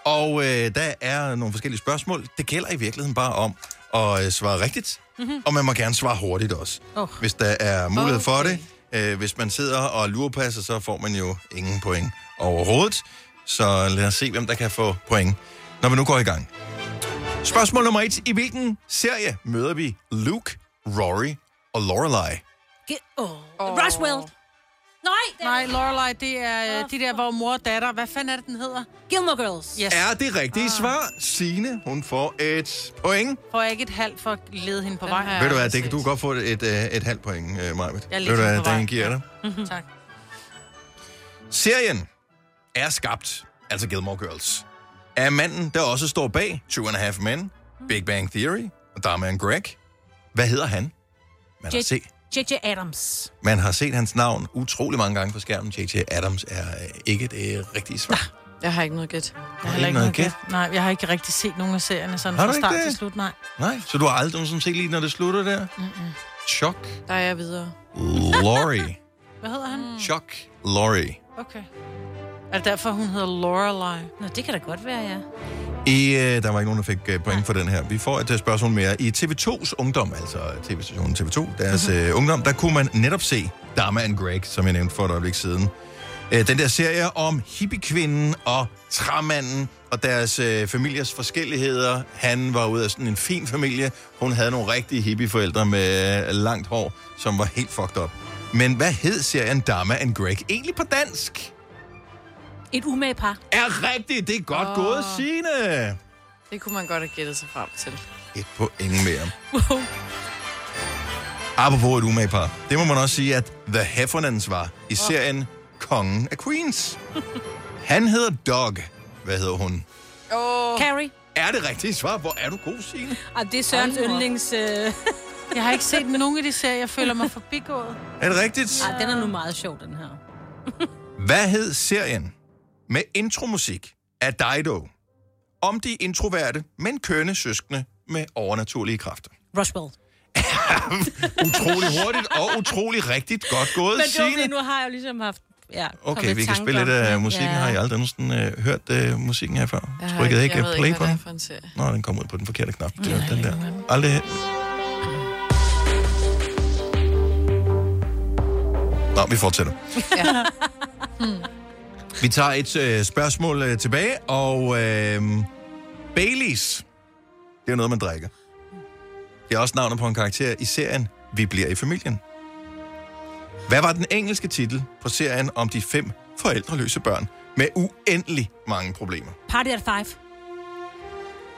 A: Og øh, der er nogle forskellige spørgsmål. Det gælder i virkeligheden bare om at øh, svare rigtigt, mm-hmm. og man må gerne svare hurtigt også,
B: Oh.
A: hvis der er mulighed okay. for det. Øh, hvis man sidder og lurer på sig, så får man jo ingen point overhovedet. Så lad os se, hvem der kan få point, når vi nu går i gang. Spørgsmål nummer et. I hvilken serie møder vi Luke, Rory og Lorelei?
D: Ge- oh. Roswell.
B: Nej, det Nej, Lorelei, det er øh, de der, hvor mor og datter... Hvad fanden er det, den hedder?
D: Gilmore Girls.
B: Yes.
A: Er det rigtige ah. svar? Signe, hun får et point.
B: Får jeg ikke et halvt for at lede hende på vej?
A: Ja, Ved du hvad, det kan du kan godt få et, øh, et halvt point, øh, Majbet.
B: Jeg er lidt
A: Ved du
B: på
A: hvad,
B: vej.
A: den giver dig.
B: Mhm. tak.
A: Serien er skabt, altså Gilmore Girls, af manden, der også står bag Two and a Half Men, Big Bang Theory og Dharma and Greg. Hvad hedder han? Man har, set,
D: J.J. Adams.
A: man har set hans navn utrolig mange gange på skærmen. J.J. Adams er øh, ikke det rigtige svar.
C: Jeg har ikke noget gæt.
B: Jeg har
A: ikke
B: heller ikke
A: noget
B: noget gæt. Nej, jeg har ikke rigtig set nogen af serierne sådan
A: Har du
B: fra
A: ikke
B: start
A: det?
B: til slut, nej.
A: Nej, så du har aldrig nogensinde set lige, når det slutter der?
B: Mm-mm.
A: Chuck
C: Der er jeg videre.
A: Lorry.
B: Hvad hedder han? Mm.
A: Chuck Lorry.
B: Okay. Er det derfor, hun hedder Lorelei?
D: Nå, det kan da godt være, ja.
A: I, øh, der var ikke nogen, der fik øh, point for den her. Vi får et øh, spørgsmål mere. I TV2's ungdom, altså tv-stationen TV2, deres øh, ungdom, der kunne man netop se Dharma and Greg, som jeg nævnte for et øjeblik siden. Øh, den der serie om hippiekvinden og træmanden og deres øh, familiers forskelligheder. Han var ud af sådan en fin familie. Hun havde nogle rigtige hippieforældre med øh, langt hår, som var helt fucked up. Men hvad hed serien Dharma and Greg egentlig på dansk?
D: Et umage par.
A: Er rigtigt, det er godt
C: Åh.
A: oh. gået, Signe!
C: Det kunne man godt have gættet sig frem til.
A: Et point mere.
D: Wow.
A: Apropos et umage par. Det må man også sige, at The Heffernans var i serien Kongen af Queens. Han hedder Dog. Hvad hedder hun?
D: Oh. Carrie.
A: Er det rigtige svar? Hvor er du god, Signe?
D: Og det er Sørens
B: Hold nu op.
D: yndlings... Øh...
B: Jeg har ikke set nogen af de serier, jeg føler mig forbigået.
A: Er det rigtigt?
D: Ej, den er nu meget sjov, den her.
A: Hvad hed serien med intromusik af Dido om de introverte, men kønne søskende med overnaturlige kræfter?
D: Roswell.
A: Utrolig hurtigt og utrolig rigtigt godt gået,
D: Men det var,
A: Signe.
D: fordi nu har jeg jo ligesom haft... Ja,
A: Okay, vi kan spille lidt af musikken. Har I aldrig nogensinde øh, hørt øh, musikken her før?
D: Jeg har
A: Trykket
D: ikke- jeg
A: ikke, ikke
D: ved
A: play
D: ikke,
A: på
D: hvad det er
A: den?
D: for en serie.
A: Nå, den kom ud på den forkerte knap. Det var den der. Aldrig... Nå, vi fortsætter.
G: Ja.
A: Vi tager et øh, spørgsmål øh, tilbage, og øh, Baileys, det er noget, man drikker. Det er også navnet på en karakter i serien Vi bliver i familien. Hvad var den engelske titel på serien om de fem forældreløse børn med uendelig mange problemer?
D: Party at Five.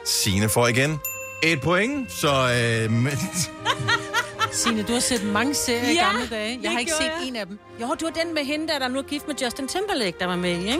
A: Sine får igen et point, så... Øh, men,
B: Signe, du har set mange serier ja, i gamle dage. Jeg
D: det
B: har ikke
D: gjorde
B: set
D: jeg.
B: en af dem.
D: Jo, du var den med hende, der, der nu er gift med Justin Timberlake, der var med i, ikke?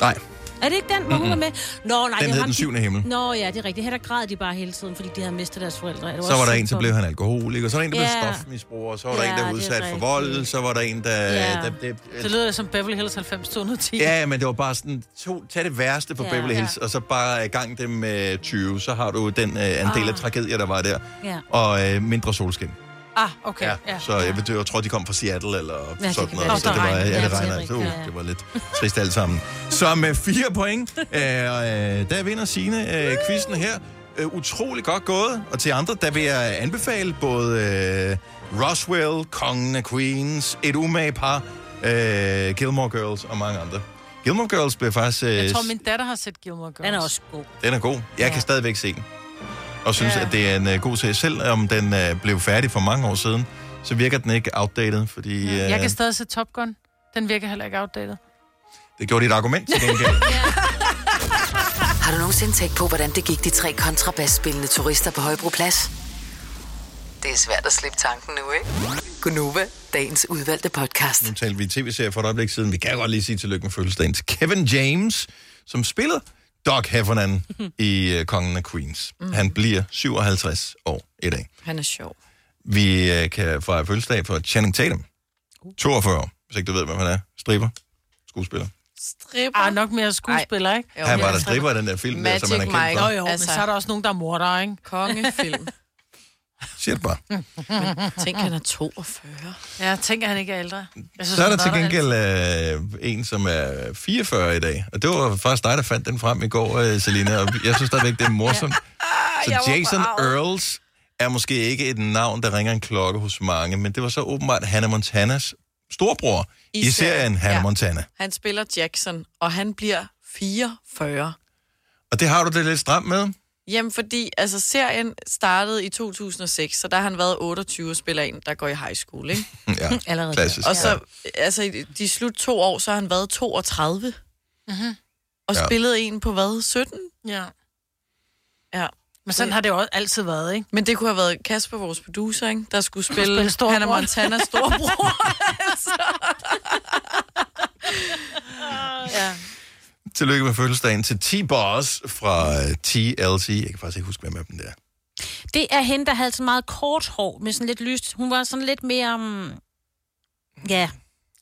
A: nej,
D: Er det ikke den, hvor hun var
A: Mm-mm.
D: med? Nå, nej, det
A: Den
D: var
A: hed
D: ham,
A: Den
D: de-
A: Syvende Himmel.
D: Nå, ja, det er rigtigt. Her der græd de bare hele tiden, fordi de havde mistet deres forældre. Det
A: så var der
D: synd
A: en,
D: for
A: der blev
D: dem.
A: han alkoholiker, så var der en, der
D: Ja.
A: blev stofmisbruger, så var der
D: Ja,
A: en, der var
D: det er
A: udsat for
D: rigtigt.
A: vold, så var der en, der...
B: Ja.
A: der, der,
B: Det lyder som Beverly Hills 90 210.
A: Ja, men det var bare sådan, to, tag det værste på
B: Ja.
A: ja, Beverly Hills, ja. og så bare gang det med øh, 20, så har du den øh, andel af
B: Ah.
A: tragedier, der var der,
B: Ja.
A: og øh, mindre solskin.
B: Ah, okay. Ja. ja.
A: Så jeg, ved, jeg tror, de kom fra Seattle eller
B: kan
A: ja, sådan
B: være.
A: noget.
B: Og
A: så
B: der
A: det var,
B: regner.
A: ja,
B: Ja,
A: det
B: det er
A: regner.
B: rigtigt.
A: Så, uh,
B: Ja, ja.
A: det var lidt trist alt sammen. Så med fire point, øh, øh, der vinder Signe øh, quizzen her. øh, utrolig godt gået. Og til andre, der vil jeg anbefale både øh, Roswell, Kongen af Queens, Et umage par, øh, Gilmore Girls og mange andre. Gilmore Girls blev faktisk... Øh,
B: Jeg tror, min datter har set Gilmore Girls. Den er også
D: god.
A: Den er god. Jeg ja. kan stadigvæk se den. Og synes, ja. at det er en uh, god serie. Selvom den uh, blev færdig for mange år siden, så virker den ikke outdated, fordi uh,
B: Jeg kan stadig se Top Gun. Den virker heller ikke outdated.
A: det gjorde dit argument til gengæld.
E: Har du nogensinde tænkt på, hvordan det gik de tre kontrabasspillende turister på Højbroplads? Det er svært at slippe tanken nu, ikke? Gunova, dagens udvalgte podcast.
A: nu talte vi tv-serie for et øjeblik siden. Vi kan godt lige sige tillykke med fødselsdagen til Kevin James, som spillede Doc Heffernan i uh, Kongen af Queens. Mm. Han bliver 57 år i dag.
C: Han er sjov.
A: Vi øh, kan fejre fødselsdag for Channing Tatum. Uh. 42 år, hvis ikke du ved, hvem han er. Striber. Skuespiller.
B: Stripper? Ah, nok mere skuespiller, ikke?
A: Jo, han var der stripper i den der film, der, som han er kendt
B: Mike.
A: for.
B: Jo, jo, altså... men så er der også nogen, der er morder, ikke?
C: Kongefilm.
A: Siger det bare.
C: Men tænk, han er 42.
B: Ja, tænk, at han ikke er ældre. Jeg
A: Så er der
B: han
A: til
B: var
A: gengæld øh, en, som er 44 i dag. Og det var faktisk dig, der fandt den frem i går, øh, Selina. Og jeg synes stadigvæk, det er morsomt. Så
G: jeg var
A: Jason
G: forarget.
A: Earls er måske ikke et navn, der ringer en klokke hos mange, men det var så åbenbart Hannah Montanas storbror i,
C: I
A: serien
C: serien,
A: Hannah
C: ja.
A: Montana.
C: Han spiller Jackson, og han bliver 44.
A: Og det har du det lidt stramt med?
C: Jamen, fordi altså, serien startede i 2006, så der har han været 28 og spiller en, der går i high school, ikke?
A: Ja, Allerede der. klassisk,
C: Og så,
A: ja.
C: altså, i de slut to år, så har han været 32.
B: Mhm.
C: Og
A: Ja.
C: ja. spillede en på hvad, 17?
B: Ja.
C: Ja.
B: Men sådan har det jo altid været, ikke?
C: Men det kunne have været Kasper, vores producer, ikke? der skulle
B: Skulle
C: spille,
B: spille
C: spille Hannah
B: storebror.
C: Montanas storbror. altså. ja.
A: Tillykke med fødselsdagen til T-Boss fra øh, TLC. Jeg kan faktisk ikke huske, hvem af dem der.
D: Det er hende, der havde så meget kort hår, med sådan lidt lyst. Hun var sådan lidt mere... Um... Ja.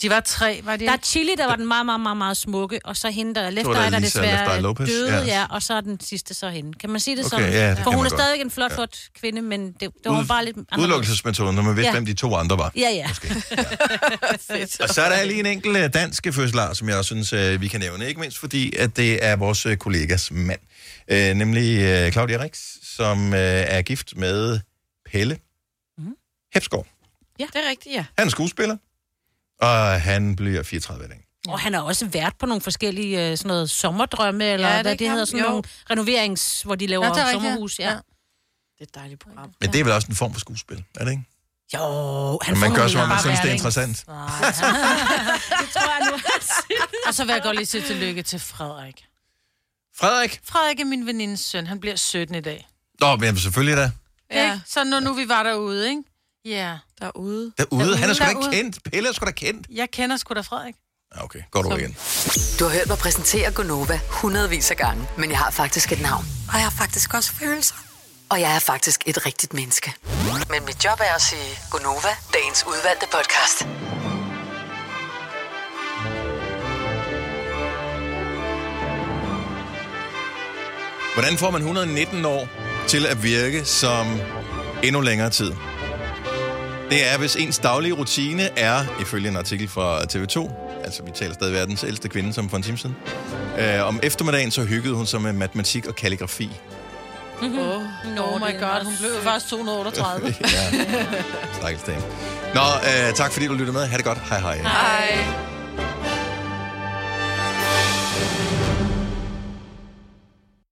B: De var tre, var de
D: Der er Chili, der var den meget, meget, meget, meget smukke, og så hende, der er Left
A: Så var der
D: Eye, der
A: Lisa
D: desværre
A: Left Eye Lopez,
D: døde,
A: ja.
D: ja. og så er den sidste så hende. Kan man sige det
A: Okay,
D: sådan?
A: ja, det kan
D: For hun
A: man
D: er
A: godt.
D: stadigvæk en flot,
A: Ja.
D: flot kvinde, men det, det var
A: Ud-
D: bare lidt... anderledes.
A: Udelukkelsesmetoden, når man vidste, ja.
D: Ja.
A: hvem de to andre var.
D: Ja, ja.
A: Og så er der lige en enkelt øh, dansk fødselar, som jeg også synes, øh, vi kan nævne. Ikke mindst fordi, at det er vores øh, kollegas mand. Øh, Nemlig øh, Claudia Rix, som øh, er gift med Pelle Hepsgaard.
D: ja,
C: det er rigtigt, ja.
A: Han er skuespiller, og han bliver 34 i dag.
D: Og han har også vært på nogle forskellige øh, sådan noget sommerdrømme, eller
C: Ja,
D: ja,
C: det
D: det hvad det
C: kan-
D: hedder, sådan
C: jo.
D: jo. nogle renoverings, hvor de laver
C: Ja, det er
D: ja,
C: rigtigt,
D: sommerhus. Ja. ja.
C: Det er et dejligt program.
A: Men det er vel også en form for skuespil, er det ikke?
D: Jo,
A: han Man gør, som om man
B: formidler.
A: synes, det er
B: Bare
A: interessant.
B: det tror jeg nu, Og så vil jeg godt lige sige tillykke til Frederik.
A: Frederik?
B: Frederik er min venindes søn. Han bliver 17 i dag.
A: Nå, men selvfølgelig da.
B: Ja. Ikke? Så nu, nu vi var derude, ikke? Ja.
C: Derude.
A: Derude, han er sgu da ikke
B: Derude.
A: kendt. Pelle er sgu da kendt.
B: Jeg kender sgu da Frederik.
A: Ja, okay, godt ord igen.
E: Du har hørt mig præsentere Gunova hundredvis af gange, men jeg har faktisk et navn.
I: Og jeg har faktisk også følelser.
E: Og jeg er faktisk et rigtigt menneske. Men mit job er at sige Gunova, dagens udvalgte podcast.
A: Hvordan får man 119 år til at virke som endnu længere tid? Det er, hvis ens daglige rutine er, ifølge en artikel fra TV2, altså vi taler stadig verdens ældste kvinde, som for en time siden, øh, om eftermiddagen så hyggede hun sig med matematik og kalligrafi.
B: Mm-hmm. Oh, no, oh my god, hun blev jo faktisk 238.
A: Ja. Stakkels dame. Nå, øh, tak fordi du lyttede med. Ha' det godt. Hej hej.
B: Hej.